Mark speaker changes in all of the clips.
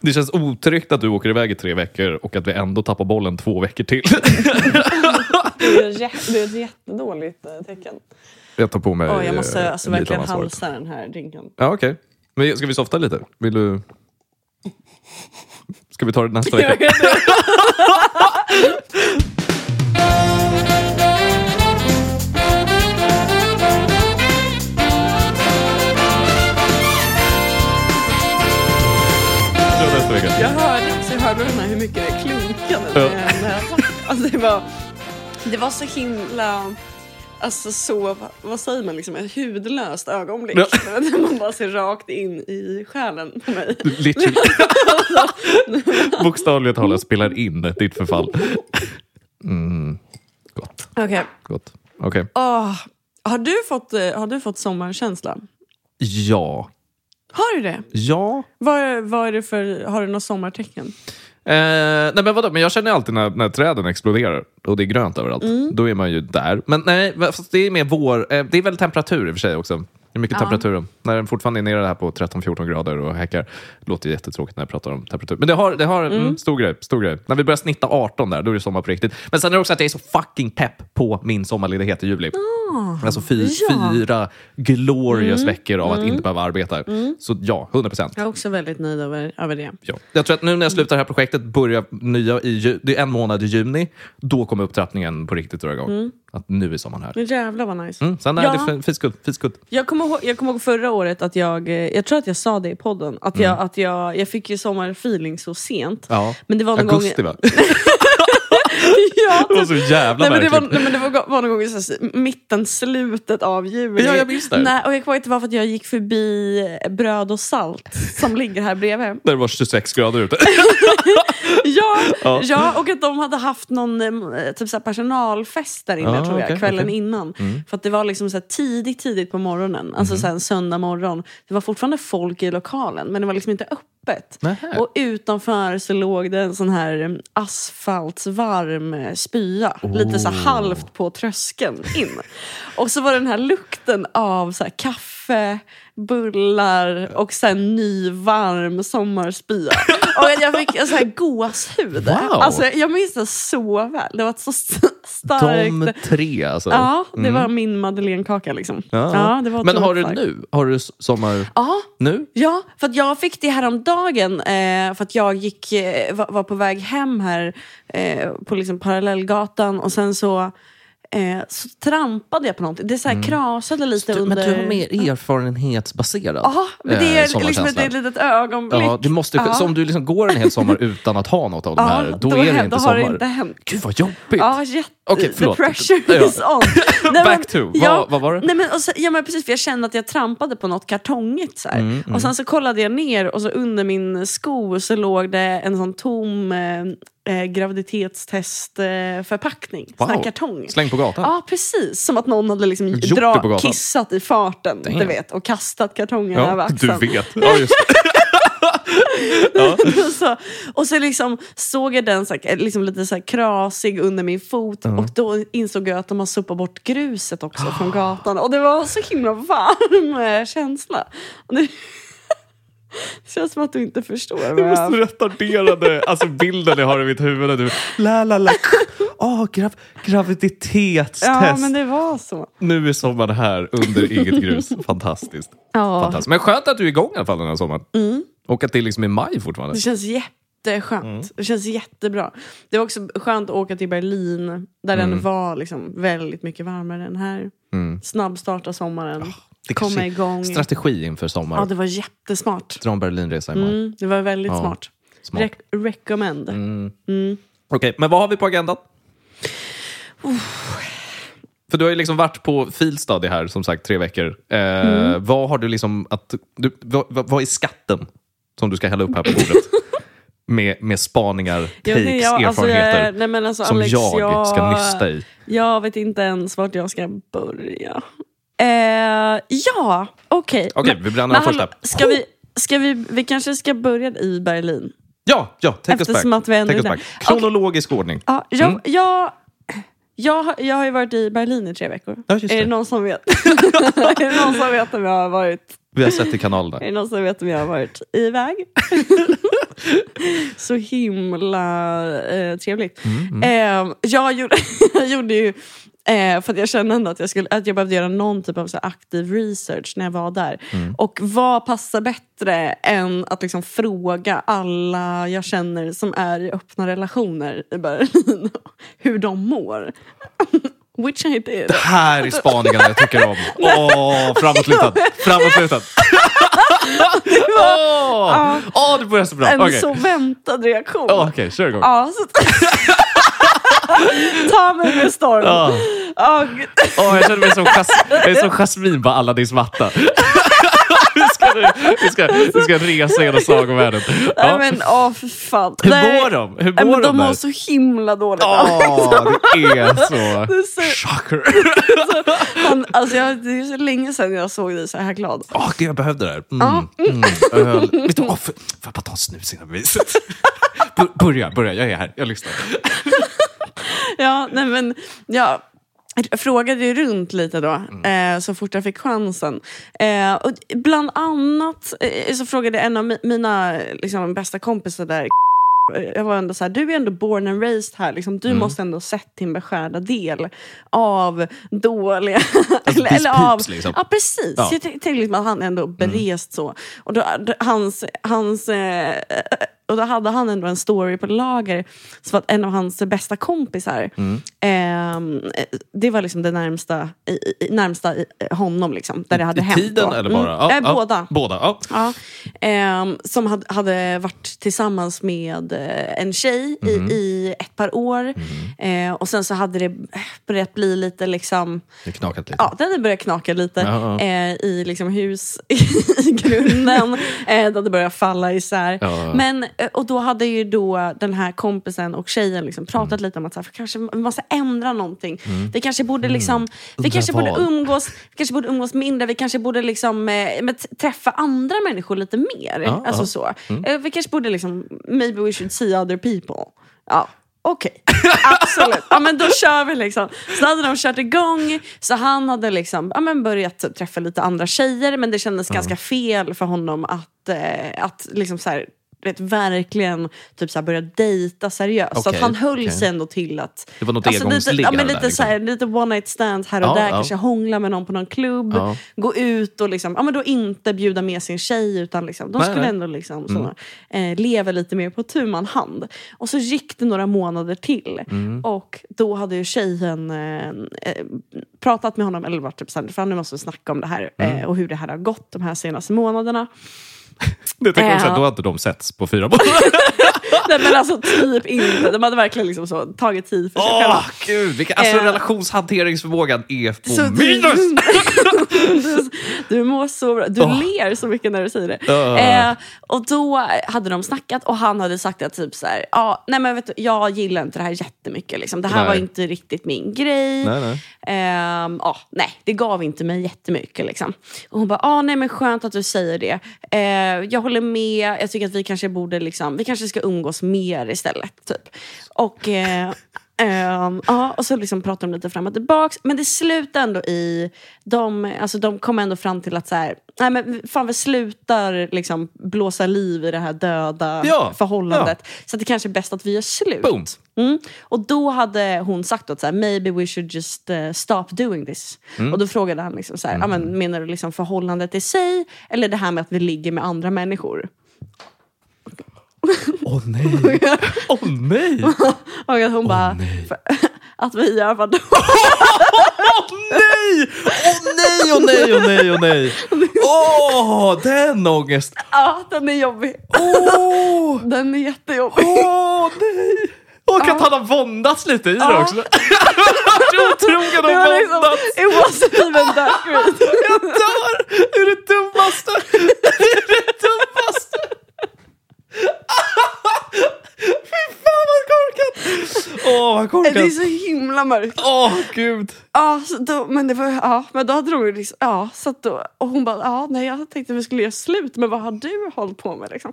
Speaker 1: Det känns otryggt att du åker iväg i tre veckor och att vi ändå tappar bollen två veckor till.
Speaker 2: Det är, jä- det är ett jättedåligt eh, tecken.
Speaker 3: Jag tar på mig
Speaker 2: Oj, jag måste
Speaker 3: eh,
Speaker 2: alltså
Speaker 3: lite av
Speaker 2: verkligen
Speaker 3: ansvaret.
Speaker 2: halsa den här drinken.
Speaker 3: Ja, okej.
Speaker 1: Men ska vi softa lite? Vill du... Ska vi ta det nästa
Speaker 2: Gör
Speaker 1: vecka?
Speaker 2: jag det?
Speaker 1: Ta nästa vecka.
Speaker 2: Jag hörde, så jag hörde den här, hur mycket det klunkade.
Speaker 1: Ja.
Speaker 2: när jag- när jag- Alltså, det, var, det var så himla... Alltså så, vad säger man, liksom, ett hudlöst ögonblick.
Speaker 1: Ja.
Speaker 2: När man bara ser rakt in i själen på mig.
Speaker 1: Literally. Bokstavligt talat spelar in ditt förfall. Mm. Gott,
Speaker 2: Okej.
Speaker 1: gott. Okej.
Speaker 2: Åh, har, du fått, eh, har du fått sommarkänsla?
Speaker 1: Ja.
Speaker 2: Har du det?
Speaker 1: Ja.
Speaker 2: Vad, vad är det för, har du något sommartecken?
Speaker 1: Eh, nej men vadå, men jag känner alltid när, när träden exploderar och det är grönt överallt. Då är man ju där. Men nej, va- fast det är mer vår. Eh, det är väl temperatur i och för sig också. Det är mycket temperaturen. När den fortfarande är nere här på 13-14 grader och häckar. Det låter jättetråkigt när jag pratar om temperatur. Men det har, det har mm. stor, grej, stor grej. När vi börjar snitta 18 där, då är det sommar på riktigt. Men sen är det också att jag är så fucking pepp på min sommarledighet i juli. alltså fy,
Speaker 2: ja.
Speaker 1: fyra glorious veckor av att inte behöva arbeta. Så ja, 100 procent.
Speaker 2: Jag är också väldigt nöjd över, över det.
Speaker 1: Ja. Jag tror att nu när
Speaker 2: Mm.
Speaker 1: jag slutar det här projektet, börjar nya i ju, det är en månad i juni, då kommer upptrappningen på riktigt dra igång. Att nu är sommaren här.
Speaker 2: Men jävlar vad nice.
Speaker 1: Mm. Sen är
Speaker 2: Mm. Ja.
Speaker 1: det fiskut, fiskut.
Speaker 2: Jag kommer, ihåg, jag kommer ihåg förra året att jag, eh, jag tror att jag sa det i podden, att jag, att jag, jag fick ju sommarfeeling så sent.
Speaker 1: Mm. Ja.
Speaker 2: Men det var någon
Speaker 1: Augusti
Speaker 2: gång...
Speaker 1: va? Det
Speaker 2: ja, typ.
Speaker 1: var så jävla
Speaker 2: Nej, men det var,
Speaker 1: märkligt.
Speaker 2: nej, men det var, var någon gång i så här, mitten, slutet av juli.
Speaker 1: Ja, jag minns det.
Speaker 2: Nej, och jag kommer inte vara för att jag gick förbi eh, Bröd och Salt som ligger här bredvid.
Speaker 1: När det var 26 grader ute.
Speaker 2: Ja,
Speaker 1: Ja.
Speaker 2: ja. och att de hade haft någon eh, typ så här personalfest där inne
Speaker 1: Ah,
Speaker 2: tror jag,
Speaker 1: okej,
Speaker 2: kvällen
Speaker 1: okej.
Speaker 2: innan.
Speaker 1: Mm.
Speaker 2: För att det var liksom så här tidigt, tidigt på morgonen, alltså så här en söndag morgon. Det var fortfarande folk i lokalen men det var liksom inte öppet.
Speaker 1: Nähä.
Speaker 2: Och utanför så låg det en sån här eh, asfaltsvarm eh, spya, lite så här halvt på tröskeln in. Och så var det den här lukten av så här kaffe, bullar och sen ny varm sommarspya. Och jag fick en så här gåshud.
Speaker 1: Wow.
Speaker 2: Alltså, jag minns det så väl. Det var ett så st- starkt...
Speaker 1: De tre alltså.
Speaker 2: Ja, det var min madeleinekaka liksom.
Speaker 1: Ja.
Speaker 2: Ja, det var
Speaker 1: men har du
Speaker 2: otroligt starkt.
Speaker 1: nu? Har du s- sommar
Speaker 2: Ja,
Speaker 1: nu?
Speaker 2: Ja, för att jag fick det häromdagen eh, för att jag gick, eh, var, var på väg hem här eh, på liksom parallellgatan och sen så, eh, så trampade jag på någonting. Det så här krasade lite
Speaker 1: Du, men
Speaker 2: under...
Speaker 1: du har mer erfarenhetsbaserad
Speaker 2: Ja, men det
Speaker 1: eh,
Speaker 2: är liksom ett
Speaker 1: sommarkänsla.
Speaker 2: litet- litet ögonblick.
Speaker 1: Ja, det måste,
Speaker 2: Ja.
Speaker 1: Så om du liksom går en hel sommar utan att ha något av de
Speaker 2: Ja,
Speaker 1: här, då,
Speaker 2: då
Speaker 1: är det
Speaker 2: hä-
Speaker 1: inte
Speaker 2: då har
Speaker 1: sommar.
Speaker 2: det inte hänt.
Speaker 1: Gud vad jobbigt!
Speaker 2: Ja, jätte...
Speaker 1: Okej,
Speaker 2: the
Speaker 1: förlåt.
Speaker 2: pressure
Speaker 1: Ja.
Speaker 2: is on. Nej, men-
Speaker 1: Back to. Vad- vad var det?
Speaker 2: Nej, men, och så, ja, men precis, för jag kände att jag trampade på något kartongigt. Så här.
Speaker 1: Mm,
Speaker 2: Och sen så kollade jag ner och så under min sko så låg det en sån tom eh, eh, graviditetstestförpackning. Eh, förpackning. Sån här
Speaker 1: Wow.
Speaker 2: kartong.
Speaker 1: Släng på gatan.
Speaker 2: Ja, precis. Som att någon hade liksom
Speaker 1: Gjort det på
Speaker 2: dra,
Speaker 1: gatan.
Speaker 2: kissat i farten
Speaker 1: Damn.
Speaker 2: du vet, och kastat kartongen
Speaker 1: Ja,
Speaker 2: över axeln.
Speaker 1: vet. Ja, just.
Speaker 2: så, och så liksom såg jag den så här, liksom lite så här krasig under min fot och då insåg jag att de har sopat bort gruset
Speaker 1: Ah.
Speaker 2: också från gatan. Och det var så himla varm eh, känsla. Och Det det känns som att du inte förstår. Vad
Speaker 1: Det var så
Speaker 2: jag...
Speaker 1: retarderade alltså, bilden jag har i mitt huvud. Du, la, la, la. Oh, grav, graviditetstest.
Speaker 2: Ja, men det var så.
Speaker 1: Nu är sommaren här under eget grus. Fantastiskt.
Speaker 2: Ja, Mm.
Speaker 1: Fantastiskt. Men skönt att du är igång i alla fall den här sommaren. Och att det liksom är maj fortfarande.
Speaker 2: det känns jätteskönt.
Speaker 1: Mm.
Speaker 2: Det känns jättebra. Det var också skönt att åka till Berlin där
Speaker 1: Mm.
Speaker 2: den var liksom väldigt mycket varmare än här. Snabbstarta sommaren,
Speaker 1: Ah, Det kanske
Speaker 2: komma
Speaker 1: är
Speaker 2: igång.
Speaker 1: Strategi inför sommaren.
Speaker 2: Ja, det var jättesmart.
Speaker 1: Dra en Berlinresa i maj.
Speaker 2: Mm, det var väldigt
Speaker 1: Ja,
Speaker 2: smart.
Speaker 1: smart. Mm,
Speaker 2: Re- recommend.
Speaker 1: Okej, men vad har vi på agendan? För du har ju liksom varit på field study här, som sagt, tre veckor. Eh, Vad har du liksom att... Du, vad, vad vad är skatten som du ska hälla upp här på bordet? med, med spaningar,
Speaker 2: Jag vet
Speaker 1: takes,
Speaker 2: inte, jag- alltså,
Speaker 1: erfarenheter.
Speaker 2: jag- nej, men alltså,
Speaker 1: som
Speaker 2: Alex,
Speaker 1: jag, ska nysta i.
Speaker 2: Jag vet inte ens vart jag ska börja. Eh, ja, okej.
Speaker 1: Okej,
Speaker 2: Men-
Speaker 1: vi bränner
Speaker 2: men
Speaker 1: den första.
Speaker 2: hallå, Ska vi, ska vi, vi kanske ska börja i Berlin?
Speaker 1: Ja, ja, take us
Speaker 2: Eftersom
Speaker 1: back.
Speaker 2: att vi ändå
Speaker 1: Take us
Speaker 2: är där.
Speaker 1: back. Mm. Kronologisk ordning.
Speaker 2: Ja, jag, jag, jag, har- jag har ju varit i Berlin i tre veckor.
Speaker 1: Ja, just
Speaker 2: är det
Speaker 1: det.
Speaker 2: någon som vet? är det någon som vet om jag har varit
Speaker 1: Vi har sett i
Speaker 2: Är
Speaker 1: kanalerna.
Speaker 2: det någon som vet om jag har varit iväg? så himla eh, trevligt. Eh, jag, gjorde, jag gjorde ju, eh, för att jag kände ändå att jag, skulle, att jag behövde göra någon typ av så här aktiv research när jag var där. Och vad passar bättre än att liksom fråga alla jag känner som är i öppna relationer i Berlin hur de mår? Which I did.
Speaker 1: Det här är spaningarna jag tycker om. Åh, framåtlutad. Framåtlutad. Åh, Åh, det börjar så bra.
Speaker 2: En
Speaker 1: Okej,
Speaker 2: så väntad reaktion.
Speaker 1: Åh, okej, kör igång.
Speaker 2: Ja, så... Ta mig med storm.
Speaker 1: Ja.
Speaker 2: Ja, gud.
Speaker 1: Åh, jag känner mig som, Jas- jag är som Jasmine på Aladdins matta. Vi ska, vi, ska, vi ska resa genom sagovärlden.
Speaker 2: Nej,
Speaker 1: Ja.
Speaker 2: men åh för fan.
Speaker 1: Hur
Speaker 2: Nej.
Speaker 1: mår de? Hur
Speaker 2: Nej,
Speaker 1: mår
Speaker 2: men de
Speaker 1: de
Speaker 2: mår
Speaker 1: där?
Speaker 2: så himla dåligt.
Speaker 1: Åh, det är
Speaker 2: är
Speaker 1: så...
Speaker 2: så-
Speaker 1: Shocker!
Speaker 2: Han, alltså, jag, det är så länge sedan jag såg dig så här glad.
Speaker 1: Åh, gud, jag behövde det här. Mm, mm, öl. Vet du, åh, för, får jag bara ta en snus innan viset? B- börja, börja. Jag är här. Jag lyssnar.
Speaker 2: Ja, nej, men, ja. Jag frågade ju runt lite då, eh, så fort jag fick chansen. Eh, och bland annat eh, så frågade en av mi- mina liksom, bästa kompisar där, eh, jag var ändå så här, du är ändå born and raised här. Liksom, du måste ändå ha sett din beskärda del av dåliga...
Speaker 1: piss- pips, liksom.
Speaker 2: Ja, precis.
Speaker 1: Ja. Mm.
Speaker 2: Jag t- tänkte liksom att han ändå berest så. Och då, d- hans, hans, eh, och då hade han ändå en story på lager. Så att en av hans bästa kompisar,
Speaker 1: Mm.
Speaker 2: ehm, eh, det var liksom det närmsta, i, i, närmsta i, eh, honom. Liksom, där det hade
Speaker 1: I
Speaker 2: hänt.
Speaker 1: tiden
Speaker 2: då.
Speaker 1: eller bara?
Speaker 2: Mm.
Speaker 1: Ja,
Speaker 2: eh,
Speaker 1: ja,
Speaker 2: Båda.
Speaker 1: Båda, ja.
Speaker 2: Ja, ehm, som hade, hade varit tillsammans med eh, en tjej i,
Speaker 1: Mm-hmm.
Speaker 2: i ett par år. Eh, och sen så hade det börjat bli lite liksom...
Speaker 1: Det knakat lite.
Speaker 2: Ja, det hade börjat knaka lite
Speaker 1: typ. Ja, ja.
Speaker 2: Eh, i liksom hus i grunden. eh, det hade börjat falla isär.
Speaker 1: Ja, ja.
Speaker 2: Men, eh, och då hade ju då den här kompisen och tjejen liksom pratat
Speaker 1: Mm.
Speaker 2: lite om att så här, för kanske vi måste ändra någonting. Vi kanske borde, liksom,
Speaker 1: Mm. Undra
Speaker 2: vi kanske borde,
Speaker 1: vad?
Speaker 2: umgås, vi kanske borde umgås mindre. Vi kanske borde liksom, eh, men t- träffa andra människor lite mer.
Speaker 1: Ja,
Speaker 2: alltså
Speaker 1: ja. Mm.
Speaker 2: så. Eh, vi kanske borde liksom, maybe we should see other people. Ja. Okej, absolut. Ja, men då kör vi liksom. Så hade de kört igång, så han hade liksom, ja, men börjat träffa lite andra tjejer men det kändes ganska fel för honom att, eh, att liksom så här, du vet, verkligen typ så här, börja dejta seriöst. så att
Speaker 1: Okej,
Speaker 2: han höll
Speaker 1: okej.
Speaker 2: sig ändå till att... Alltså,
Speaker 1: Det var något
Speaker 2: lite,
Speaker 1: engångsliggande
Speaker 2: ja, men
Speaker 1: där, liksom.
Speaker 2: lite, så här, lite one night stand här och
Speaker 1: Ja,
Speaker 2: där,
Speaker 1: ja.
Speaker 2: kanske hångla med någon på någon klubb,
Speaker 1: Ja.
Speaker 2: gå ut och liksom, ja, men då inte bjuda med sin tjej utan liksom, de
Speaker 1: Nej, Mm.
Speaker 2: skulle
Speaker 1: nej.
Speaker 2: ändå liksom, så, eh, leva lite mer på tu man hand. Och så gick det några månader till
Speaker 1: Mm.
Speaker 2: och då hade ju tjejen eh, eh, pratat med honom, eller varit typ såhär, fan nu måste vi snacka om det här eh,
Speaker 1: Mm.
Speaker 2: och hur det här har gått de här senaste månaderna.
Speaker 1: Det tänker jag också,
Speaker 2: Ja.
Speaker 1: att då har inte de setts på fyra månader.
Speaker 2: Nej men alltså typ inte, de hade verkligen liksom så, tagit tid för sig
Speaker 1: Åh,
Speaker 2: själva.
Speaker 1: gud! Vilka, alltså
Speaker 2: Eh.
Speaker 1: relationshanteringsförmågan är på
Speaker 2: Så-
Speaker 1: minus!
Speaker 2: du, du mår så bra. Du
Speaker 1: Åh.
Speaker 2: ler så mycket när du säger det.
Speaker 1: Ah.
Speaker 2: Eh, och då hade de snackat och han hade sagt att typ så här, ja, nej men vet du, jag gillar inte det här jättemycket. Liksom. Det här
Speaker 1: Nej.
Speaker 2: var inte riktigt min grej.
Speaker 1: Nej, nej.
Speaker 2: Ehm, ja, nej, det gav inte mig jättemycket. Liksom. Och hon bara, ah, nej men skönt att du säger det. Eh, jag håller med, jag tycker att vi kanske borde liksom, vi kanske ska umgås mer istället. Typ. Och, eh, ehm, ja, och så liksom pratade de lite fram och tillbaks. Men det slutade ändå i, de, alltså, de kom ändå fram till att så här, nej men fan vi slutar liksom, blåsa liv i det här döda
Speaker 1: Ja,
Speaker 2: förhållandet. Så att det kanske är bäst att vi gör slut.
Speaker 1: Boom.
Speaker 2: Mm. Och då hade hon sagt att så här, maybe we should just eh, stop doing this.
Speaker 1: Mm.
Speaker 2: Och då frågade han, liksom så här, "Ja, men, menar du liksom förhållandet i sig eller det här med att vi ligger med andra människor?
Speaker 1: Åh nej! Åh nej! Åh
Speaker 2: Och hon bara, att vi gör vadå?
Speaker 1: nej! Åh nej, åh nej, åh nej, åh nej! Åh, den ångest!
Speaker 2: ja, den är jobbig.
Speaker 1: Åh,
Speaker 2: Den är jättejobbig.
Speaker 1: åh nej! Och att han har våndats lite i det
Speaker 2: Ja.
Speaker 1: också. Varit otrogen
Speaker 2: Det
Speaker 1: och
Speaker 2: var liksom,
Speaker 1: våndats.
Speaker 2: it wasn't even that great.
Speaker 1: Jag dör! Det är det dummaste! Det är det dummaste! Fy fan vad korkat! Åh vad
Speaker 2: Det är
Speaker 1: korkat!
Speaker 2: så himla mörkt.
Speaker 1: Åh gud!
Speaker 2: Ja, så då, men, det var, ja, men då hade de ju liksom, ja, så att då, och hon bara, ja, nej jag tänkte vi skulle göra slut, men vad har du hållit på med liksom?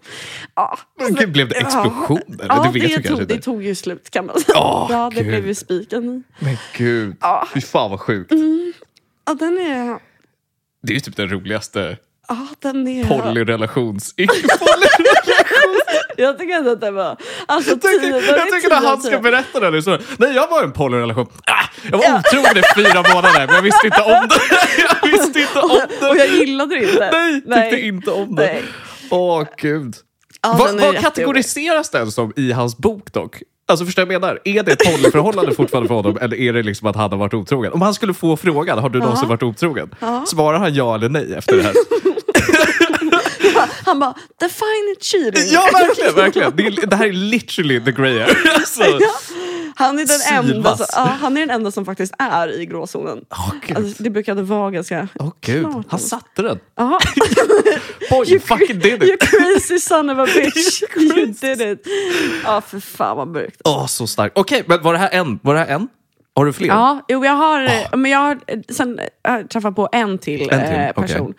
Speaker 2: Alltså, Ja,
Speaker 1: Men gud, blev det explosion, eller?
Speaker 2: Ja,
Speaker 1: Det vet
Speaker 2: det,
Speaker 1: du kanske
Speaker 2: tog, det
Speaker 1: inte.
Speaker 2: tog ju slut kan man säga.
Speaker 1: Åh,
Speaker 2: ja, det
Speaker 1: gud.
Speaker 2: blev ju spiken i.
Speaker 1: Men gud,
Speaker 2: Ja. Mm.
Speaker 1: fy fan vad sjukt.
Speaker 2: Ja, den är,
Speaker 1: Det är ju typ den roligaste
Speaker 2: ja den är...
Speaker 1: polyrelations... Icke-polyrelations...
Speaker 2: Jag tycker ändå att det var... Alltså,
Speaker 1: Jag tycker,
Speaker 2: tio-
Speaker 1: jag tycker när
Speaker 2: tio av
Speaker 1: han ska
Speaker 2: tio.
Speaker 1: berätta det nu så... Nej, jag var i en polyrelation. Ah, jag var otrogen i fyra månader, men jag visste inte om det. Jag visste inte om det.
Speaker 2: Och jag gillade det inte.
Speaker 1: Nej, tyckte inte om det.
Speaker 2: Nej.
Speaker 1: Åh, gud.
Speaker 2: Ja,
Speaker 1: vad
Speaker 2: den är
Speaker 1: vad
Speaker 2: jättejobbig.
Speaker 1: kategoriseras den som i hans bok dock? Alltså förstår jag vad jag menar? Är det ett polyförhållande fortfarande för honom eller är det liksom att han har varit otrogen? Om han skulle få frågan, har du någonsin varit otrogen? Svarar han ja eller nej efter det här?
Speaker 2: Han bara, define cheating.
Speaker 1: Ja, verkligen! verkligen. Det, är, det här är literally the grey area. Alltså,
Speaker 2: Han är, den enda
Speaker 1: Sylvass.
Speaker 2: som, ja, han är den enda som faktiskt är i gråzonen.
Speaker 1: Åh, gud.
Speaker 2: Alltså, det brukade vara ganska...
Speaker 1: Åh gud,
Speaker 2: Klart.
Speaker 1: han satte den.
Speaker 2: Aha.
Speaker 1: Boy, you fucking did
Speaker 2: You
Speaker 1: it!
Speaker 2: crazy son of a bitch.
Speaker 1: You
Speaker 2: you
Speaker 1: crazy.
Speaker 2: did it. Ja, för fan vad mörkt.
Speaker 1: Åh, så starkt. Okej, men var det här en? Var det här en? Har du fler? Ah.
Speaker 2: Ja, jo, jag har, men jag har eh, sen jag har träffat på en till,
Speaker 1: En till,
Speaker 2: eh,
Speaker 1: okej.
Speaker 2: person.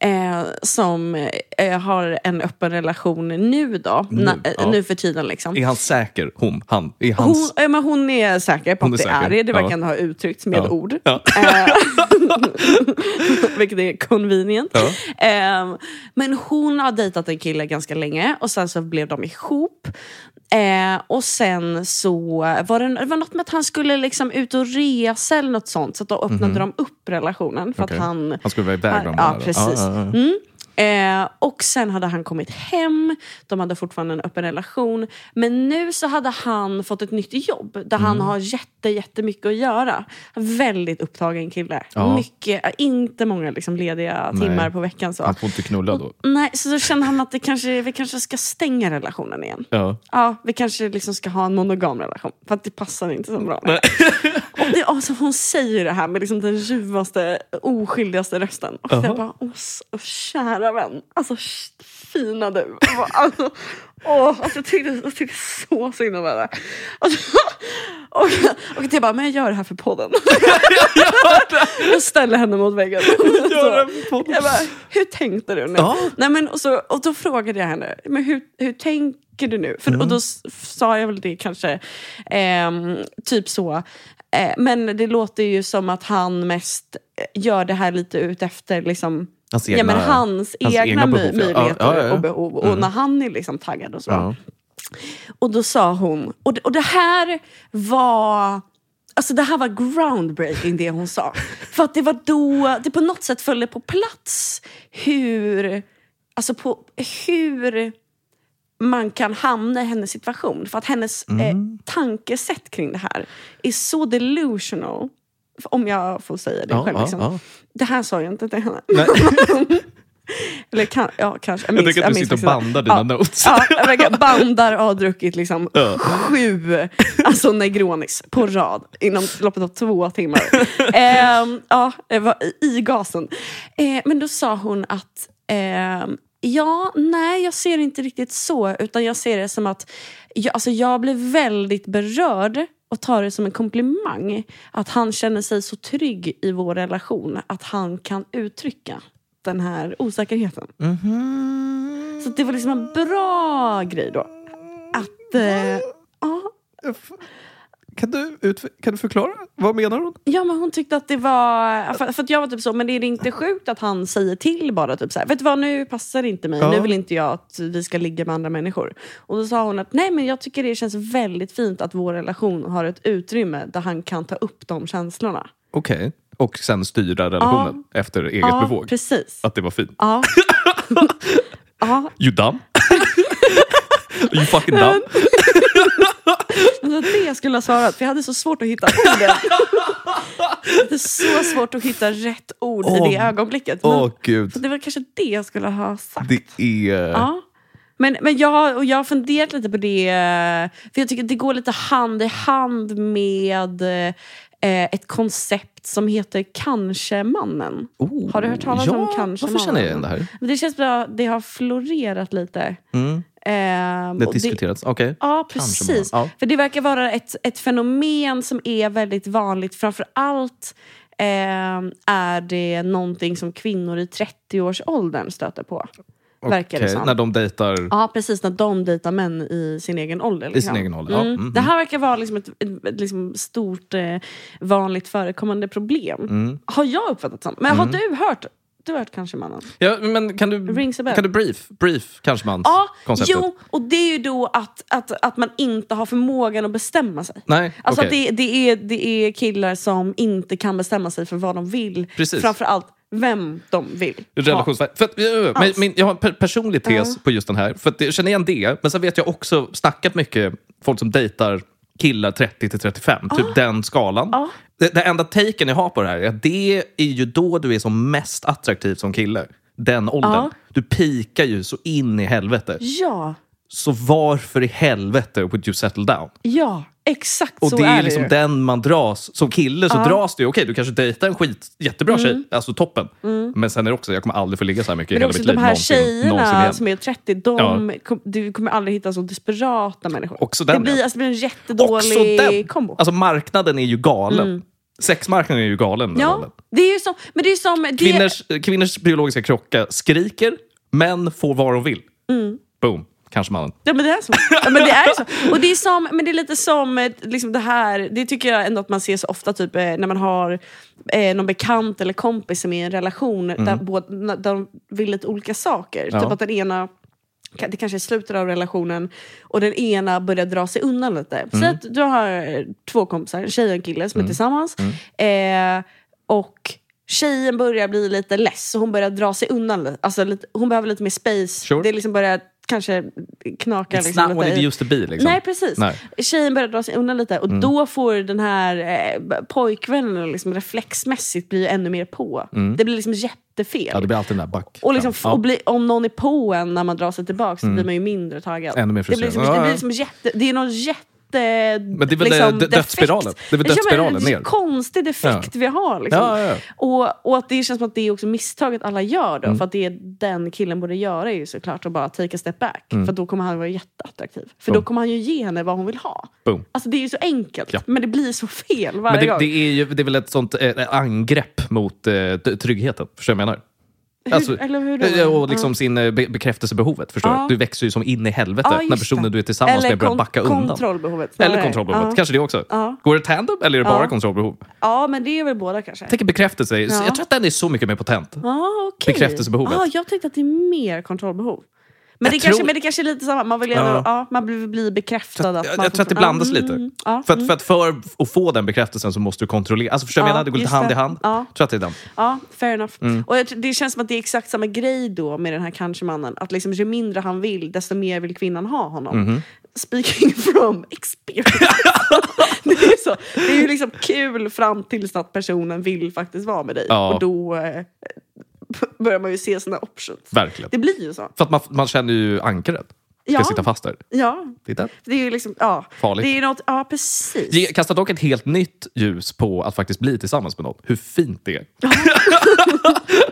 Speaker 2: Eh, som eh, har en öppen relation nu då.
Speaker 1: Nu,
Speaker 2: Nu, na, eh,
Speaker 1: ja.
Speaker 2: nu för tiden liksom.
Speaker 1: Är han säker? Hon? Han? Är hans?
Speaker 2: Hon, eh, men hon är säker på
Speaker 1: Hon
Speaker 2: att
Speaker 1: är
Speaker 2: det
Speaker 1: säker,
Speaker 2: är det. Det
Speaker 1: ja.
Speaker 2: verkar han ha uttryckt med
Speaker 1: Ja.
Speaker 2: ord.
Speaker 1: Ja.
Speaker 2: Eh, vilket är convenient.
Speaker 1: Ja.
Speaker 2: Eh, men hon har dejtat en kille ganska länge och sen så blev de ihop. Eh, och sen så var det, det var något med att han skulle liksom ut och resa eller något sånt. Så att då öppnade de upp relationen för
Speaker 1: Mhm. Okej.
Speaker 2: att han...
Speaker 1: Han skulle vara iväg någon
Speaker 2: Ja,
Speaker 1: månad.
Speaker 2: precis.
Speaker 1: Ja, ja, ja.
Speaker 2: Mm. Eh, och sen hade han kommit hem, de hade fortfarande en öppen relation. Men nu så hade han fått ett nytt jobb där
Speaker 1: Mm.
Speaker 2: han har jätte, jättemycket att göra. Väldigt upptagen kille.
Speaker 1: Ja.
Speaker 2: Mycket, eh, inte många liksom lediga
Speaker 1: Nej.
Speaker 2: timmar på veckan. Så.
Speaker 1: Han får inte knulla då.
Speaker 2: Nej, så då kände han att det kanske, vi kanske ska stänga relationen igen.
Speaker 1: Ja.
Speaker 2: Ja, vi kanske liksom ska ha en monogam relation. För att det passar inte så bra. Med. Och det, alltså, hon säger det här med liksom den ljuvaste, oskyldigaste rösten. Och
Speaker 1: Jaha.
Speaker 2: jag bara, åh s- åh, kära vän. Alltså sh- fina du. Jag bara, Alltså, åh, alltså, jag, tyckte, jag tyckte så synd om henne. Alltså, och, och jag bara, men jag gör det här för podden. Jag ställer henne mot väggen.
Speaker 1: Gör
Speaker 2: Så.
Speaker 1: en podd.
Speaker 2: Jag bara, hur tänkte du nu?
Speaker 1: Ja.
Speaker 2: Nej, men, och, så, och då frågade jag henne, men hur, hur tänker du nu? För, Och då s- sa jag väl det kanske, ehm, typ så. Eh, men det låter ju som att han mest eh, gör det här lite ut efter liksom,
Speaker 1: Hans
Speaker 2: ja, men
Speaker 1: egna-
Speaker 2: hans,
Speaker 1: hans
Speaker 2: egna,
Speaker 1: egna
Speaker 2: my-
Speaker 1: behov, ja.
Speaker 2: möjligheter
Speaker 1: Ja, ja, ja.
Speaker 2: och behov. Och när han är liksom taggad och så.
Speaker 1: Ja.
Speaker 2: Och då sa hon, och det, och det här var Alltså det här var groundbreaking det hon sa. För att det var då det på något sätt föll på plats hur, alltså på, hur man kan hamna i hennes situation. För att hennes
Speaker 1: Mm.
Speaker 2: eh, tankesätt kring det här är så delusional. Om jag får säga det
Speaker 1: Ja,
Speaker 2: själv.
Speaker 1: ja,
Speaker 2: Liksom.
Speaker 1: ja.
Speaker 2: Det här sa jag inte till henne.
Speaker 1: Nej.
Speaker 2: Eller kan, ja, kanske.
Speaker 1: Jag
Speaker 2: minns-
Speaker 1: tänker att du
Speaker 2: minns
Speaker 1: sitter och
Speaker 2: faktiskt inte.
Speaker 1: bandar dina
Speaker 2: Ja.
Speaker 1: notes.
Speaker 2: Ja, jag verkar bandar och har druckit liksom
Speaker 1: Ja.
Speaker 2: sju alltså negronis på rad inom loppet av två timmar. Ehm, ja, jag var i- i gasen. Eh, men då sa hon att ehm, Ja, nej, jag ser det inte riktigt så. Utan jag ser det som att jag, alltså, jag blir väldigt berörd och tar det som en komplimang. Att han känner sig så trygg i vår relation att han kan uttrycka den här osäkerheten.
Speaker 1: Mm-hmm.
Speaker 2: Så det var liksom en bra grej då. Att... Eh, ja,
Speaker 1: Kan du, utf- kan du förklara? Vad menar hon?
Speaker 2: ja, men hon tyckte att det var... För, för att jag var typ så, men är det inte sjukt att han säger till bara typ så här, vet du vad, nu passar det inte mig,
Speaker 1: Ja.
Speaker 2: nu vill inte jag att vi ska ligga med andra människor. Och då sa hon att nej, men jag tycker det känns väldigt fint att vår relation har ett utrymme där han kan ta upp de känslorna.
Speaker 1: Okej. Och sen styra relationen efter eget
Speaker 2: Ja,
Speaker 1: bevåg.
Speaker 2: precis.
Speaker 1: Att det var fint.
Speaker 2: Ja. ja,
Speaker 1: You dumb. you fucking dumb.
Speaker 2: Alltså det skulle jag ha svarat, för jag hade så svårt att hitta orden. Jag hade så svårt att hitta rätt ord i det
Speaker 1: Åh.
Speaker 2: ögonblicket. Men
Speaker 1: Åh gud.
Speaker 2: Det var kanske det jag skulle ha sagt.
Speaker 1: Det är...
Speaker 2: Ja. Men, men jag, och jag har funderat lite på det, för jag tycker att det går lite hand i hand med eh, ett koncept som heter Kanske-mannen.
Speaker 1: Oh.
Speaker 2: Har du hört talas
Speaker 1: ja,
Speaker 2: om kanske
Speaker 1: Varför känner jag igen det
Speaker 2: mannen?
Speaker 1: här?
Speaker 2: Men Det känns bra, det har florerat lite.
Speaker 1: Mm.
Speaker 2: Ehm,
Speaker 1: Det
Speaker 2: och
Speaker 1: diskuterats. Okej.
Speaker 2: Ja,
Speaker 1: Kanske
Speaker 2: precis.
Speaker 1: man- ja.
Speaker 2: För det verkar vara ett, ett fenomen som är väldigt vanligt. Framför allt eh, är det någonting som kvinnor i 30-årsåldern stöter på. Verkar det
Speaker 1: Okej,
Speaker 2: som.
Speaker 1: När de dejtar
Speaker 2: Ja, precis. När de dejtar män i sin egen ålder.
Speaker 1: i sin
Speaker 2: liksom.
Speaker 1: egen ålder. Ja.
Speaker 2: Mm.
Speaker 1: Mm.
Speaker 2: Det här verkar vara liksom ett, ett, ett liksom
Speaker 1: Mm.
Speaker 2: stort, eh, vanligt förekommande problem. Har jag uppfattat som. Men har du hört inte varit kanske mannen.
Speaker 1: Ja, men kan du,
Speaker 2: Rings a bell.
Speaker 1: kan du brief, brief kanske man
Speaker 2: Ja,
Speaker 1: konceptet?
Speaker 2: jo, och det är ju då att, att, att man inte har förmågan att bestämma sig.
Speaker 1: Nej,
Speaker 2: Alltså
Speaker 1: okej.
Speaker 2: att det, det, är, det är killar som inte kan bestämma sig för vad de vill.
Speaker 1: Precis.
Speaker 2: Framförallt vem de vill. ha.
Speaker 1: Relationsvärde. För att, ö, ö, men,
Speaker 2: Alls.
Speaker 1: men jag har en per- personlig tes på just den här. För att jag känner igen det, men sen vet jag också snackat mycket folk som dejtar killar 30 till 35,
Speaker 2: Ah.
Speaker 1: typ den skalan.
Speaker 2: Ja.
Speaker 1: Det, det enda taken jag har på det här är att det är ju då du är som mest attraktiv som kille. Den åldern.
Speaker 2: Ja.
Speaker 1: Du pikar ju så in i helvete.
Speaker 2: Ja,
Speaker 1: Så varför i helvete would you settle down?
Speaker 2: ja, exakt
Speaker 1: Och
Speaker 2: så
Speaker 1: det är,
Speaker 2: det
Speaker 1: liksom
Speaker 2: ju.
Speaker 1: den man dras. Som kille så dras du ju. Okej, du kanske dejtar en skit, jättebra tjej. Alltså toppen. Men sen är det också, jag kommer aldrig få ligga så här mycket i
Speaker 2: Mm. Men
Speaker 1: hela
Speaker 2: också
Speaker 1: mitt
Speaker 2: de
Speaker 1: liv. någonsin,
Speaker 2: här tjejerna
Speaker 1: någonsin igen.
Speaker 2: som är 30, de, kom, du kommer aldrig hitta så desperata människor.
Speaker 1: Också den,
Speaker 2: det, blir,
Speaker 1: ja.
Speaker 2: alltså, det blir en
Speaker 1: Också den!
Speaker 2: jättedålig kombo. Mm.
Speaker 1: Alltså marknaden är ju galen. Sexmarknaden är ju galen. den åldern.
Speaker 2: ja, det är ju som... Men det är ju som det,
Speaker 1: Kvinnors, eh, kvinnors biologiska klocka skriker, män får vad de vill.
Speaker 2: Mm.
Speaker 1: Boom, kanske mannen.
Speaker 2: Ja, men det är så. Ja, men det är så. Och det är, som, men det är lite som eh, liksom det här, det tycker jag ändå att man ser så ofta typ, eh, när man har eh, någon bekant eller kompis som är i en relation där, båda, na- där de vill lite olika saker.
Speaker 1: Ja.
Speaker 2: Typ att den ena ka- det kanske är slutet av relationen och den ena börjar dra sig undan lite.
Speaker 1: Mm.
Speaker 2: Säg att du har eh, två kompisar, en tjej och en kille som är tillsammans.
Speaker 1: Mm.
Speaker 2: Eh, och tjejen börjar bli lite less och hon börjar dra sig undan. lite. Alltså, lite, hon behöver lite mer space.
Speaker 1: Sure.
Speaker 2: Det liksom börjar kanske knaka
Speaker 1: It's
Speaker 2: liksom,
Speaker 1: not
Speaker 2: lite
Speaker 1: what it
Speaker 2: i-
Speaker 1: used to be. Liksom.
Speaker 2: Nej precis.
Speaker 1: Nej. Mm.
Speaker 2: Tjejen börjar dra sig undan lite och då får den här eh, b- pojkvännen liksom reflexmässigt bli ännu mer på.
Speaker 1: Mm.
Speaker 2: Det blir liksom jättefel.
Speaker 1: Ja, det blir alltid den där back.
Speaker 2: Och, liksom, f-
Speaker 1: Ja. Mm.
Speaker 2: och bli, om någon är på en när man drar sig tillbaka så blir man ju mindre taggad.
Speaker 1: Ännu mer
Speaker 2: det blir liksom,
Speaker 1: frustrerad.
Speaker 2: det
Speaker 1: Ja,
Speaker 2: blir
Speaker 1: ja.
Speaker 2: liksom jätte... Det är någon jätte... liksom
Speaker 1: Men det är väl, eh, d- dödsspiralen. Det är väl dödsspiralen
Speaker 2: Det är
Speaker 1: ner.
Speaker 2: en konstig defekt vi har. Liksom.
Speaker 1: Ja, ja, ja.
Speaker 2: Och, och att det känns som att det är också misstaget alla gör då.
Speaker 1: Mm.
Speaker 2: För att det är den killen borde göra är ju såklart att bara take a step back.
Speaker 1: Mm.
Speaker 2: För då kommer han vara jätteattraktiv. För då
Speaker 1: Boom.
Speaker 2: kommer han ju ge henne vad hon vill ha.
Speaker 1: Boom.
Speaker 2: Alltså det är ju så enkelt.
Speaker 1: Ja.
Speaker 2: Men det blir så fel varje
Speaker 1: Men det,
Speaker 2: gång.
Speaker 1: det, är ju, det är väl ett sånt eh, angrepp mot eh, t- tryggheten. Förstår du vad jag menar?
Speaker 2: eller hur då?
Speaker 1: eh, Och liksom sin eh, be- bekräftelsebehovet. Förstår
Speaker 2: Ja.
Speaker 1: du? du växer ju som in i helvete
Speaker 2: Ja,
Speaker 1: när
Speaker 2: just
Speaker 1: personen
Speaker 2: det.
Speaker 1: du är tillsammans
Speaker 2: Eller
Speaker 1: med börjar
Speaker 2: kon-
Speaker 1: backa undan.
Speaker 2: kontrollbehovet.
Speaker 1: Eller kontrollbehovet.
Speaker 2: Ja.
Speaker 1: Kanske det också.
Speaker 2: Ja.
Speaker 1: Går det tandem eller är det bara
Speaker 2: Ja.
Speaker 1: kontrollbehov?
Speaker 2: Ja, men det är väl båda kanske.
Speaker 1: Jag tänker bekräftelse.
Speaker 2: Ja.
Speaker 1: Jag tror att den är så mycket mer potent.
Speaker 2: ah, okej.
Speaker 1: Bekräftelsebehovet.
Speaker 2: Ah, jag tänkte att det är mer kontrollbehov. Men, det,
Speaker 1: tror-
Speaker 2: kanske, men det kanske är lite samma. Man, vill gärna, ja.
Speaker 1: Ja.
Speaker 2: man blir, blir bekräftad. Att
Speaker 1: Jag,
Speaker 2: man
Speaker 1: jag tror att det
Speaker 2: fortfar-
Speaker 1: blandas
Speaker 2: Mm,
Speaker 1: lite.
Speaker 2: mm, Ja,
Speaker 1: För, att, för, att för att få den bekräftelsen så måste du kontrollera. Alltså förstår du vad jag
Speaker 2: Ja,
Speaker 1: menar? Det går lite
Speaker 2: just
Speaker 1: hand
Speaker 2: det.
Speaker 1: i hand.
Speaker 2: Ja.
Speaker 1: Jag tror att det är den.
Speaker 2: ja, fair enough.
Speaker 1: Mm.
Speaker 2: Och jag, tror- det känns som att det är exakt samma grej då med den här kanske-mannen. Att liksom, ju mindre han vill, desto mer vill kvinnan ha honom.
Speaker 1: Mhm.
Speaker 2: Speaking from experience. det, är så. det är ju liksom kul fram tills att personen vill faktiskt vara med dig.
Speaker 1: Ja.
Speaker 2: Och då eh, börjar man ju se sina options.
Speaker 1: Verkligen.
Speaker 2: Det blir ju så.
Speaker 1: För att man, man känner ju ankaret. Ska
Speaker 2: Ja.
Speaker 1: sitta fast där.
Speaker 2: Ja,
Speaker 1: Det är den.
Speaker 2: Det är ju liksom, ja.
Speaker 1: Farligt.
Speaker 2: Det är något, ja precis.
Speaker 1: Ge- Kastar dock ett helt nytt ljus på att faktiskt bli tillsammans med någon. Hur fint det är.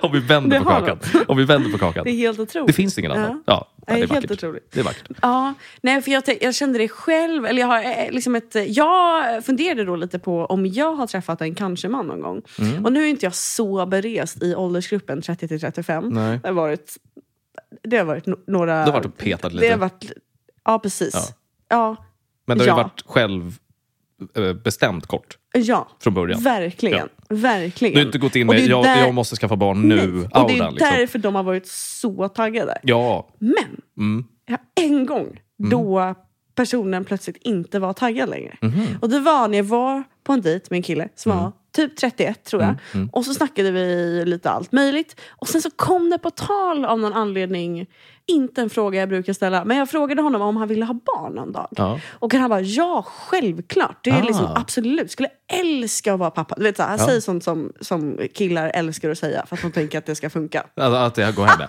Speaker 1: Om vi vänder
Speaker 2: Det
Speaker 1: på
Speaker 2: har
Speaker 1: kakan. Om vi vänder på kakan.
Speaker 2: Det är helt otroligt.
Speaker 1: Det finns ingen
Speaker 2: Ja.
Speaker 1: annan. Ja.
Speaker 2: Det
Speaker 1: det
Speaker 2: är,
Speaker 1: är
Speaker 2: helt
Speaker 1: vackert.
Speaker 2: otroligt.
Speaker 1: Det är vackert.
Speaker 2: Ja, nej, för jag, tänk- jag kände det själv. Eller jag, har, eh, liksom ett, jag funderade då lite på om jag har träffat en kanske-man någon gång.
Speaker 1: Mm.
Speaker 2: Och nu är inte jag så berest i åldersgruppen 30 till 35.
Speaker 1: Nej.
Speaker 2: Det har varit, det har varit no- några...
Speaker 1: Du har varit och petat
Speaker 2: Det har
Speaker 1: lite.
Speaker 2: varit, ja, precis.
Speaker 1: Ja.
Speaker 2: Ja. Ja,
Speaker 1: Men det har
Speaker 2: Ja.
Speaker 1: ju varit själv eh, bestämt kort från början.
Speaker 2: verkligen. Verkligen.
Speaker 1: Du har inte gått in
Speaker 2: Och
Speaker 1: med
Speaker 2: det är
Speaker 1: jag,
Speaker 2: där-
Speaker 1: jag måste skaffa barn nu,
Speaker 2: Nej. Och det är
Speaker 1: auran. Liksom.
Speaker 2: därför de har varit så taggade.
Speaker 1: Ja.
Speaker 2: Men
Speaker 1: Mm.
Speaker 2: jag har en gång då personen plötsligt inte var taggad längre.
Speaker 1: Mhm.
Speaker 2: Och det var när jag var på en dejt med en kille som
Speaker 1: Mm.
Speaker 2: var typ 31 tror jag. Och så snackade vi lite allt möjligt. Och sen så kom det på tal av någon anledning, inte en fråga jag brukar ställa, men jag frågade honom om han ville ha barn någon dag.
Speaker 1: Ja.
Speaker 2: Och han bara, ja självklart. Det är
Speaker 1: Ah.
Speaker 2: liksom absolut, skulle älska att vara pappa. Du vet, så här, han
Speaker 1: Ja.
Speaker 2: säger sånt som, som killar älskar att säga för att de tänker att det ska funka.
Speaker 1: Alltså, att jag går hem med.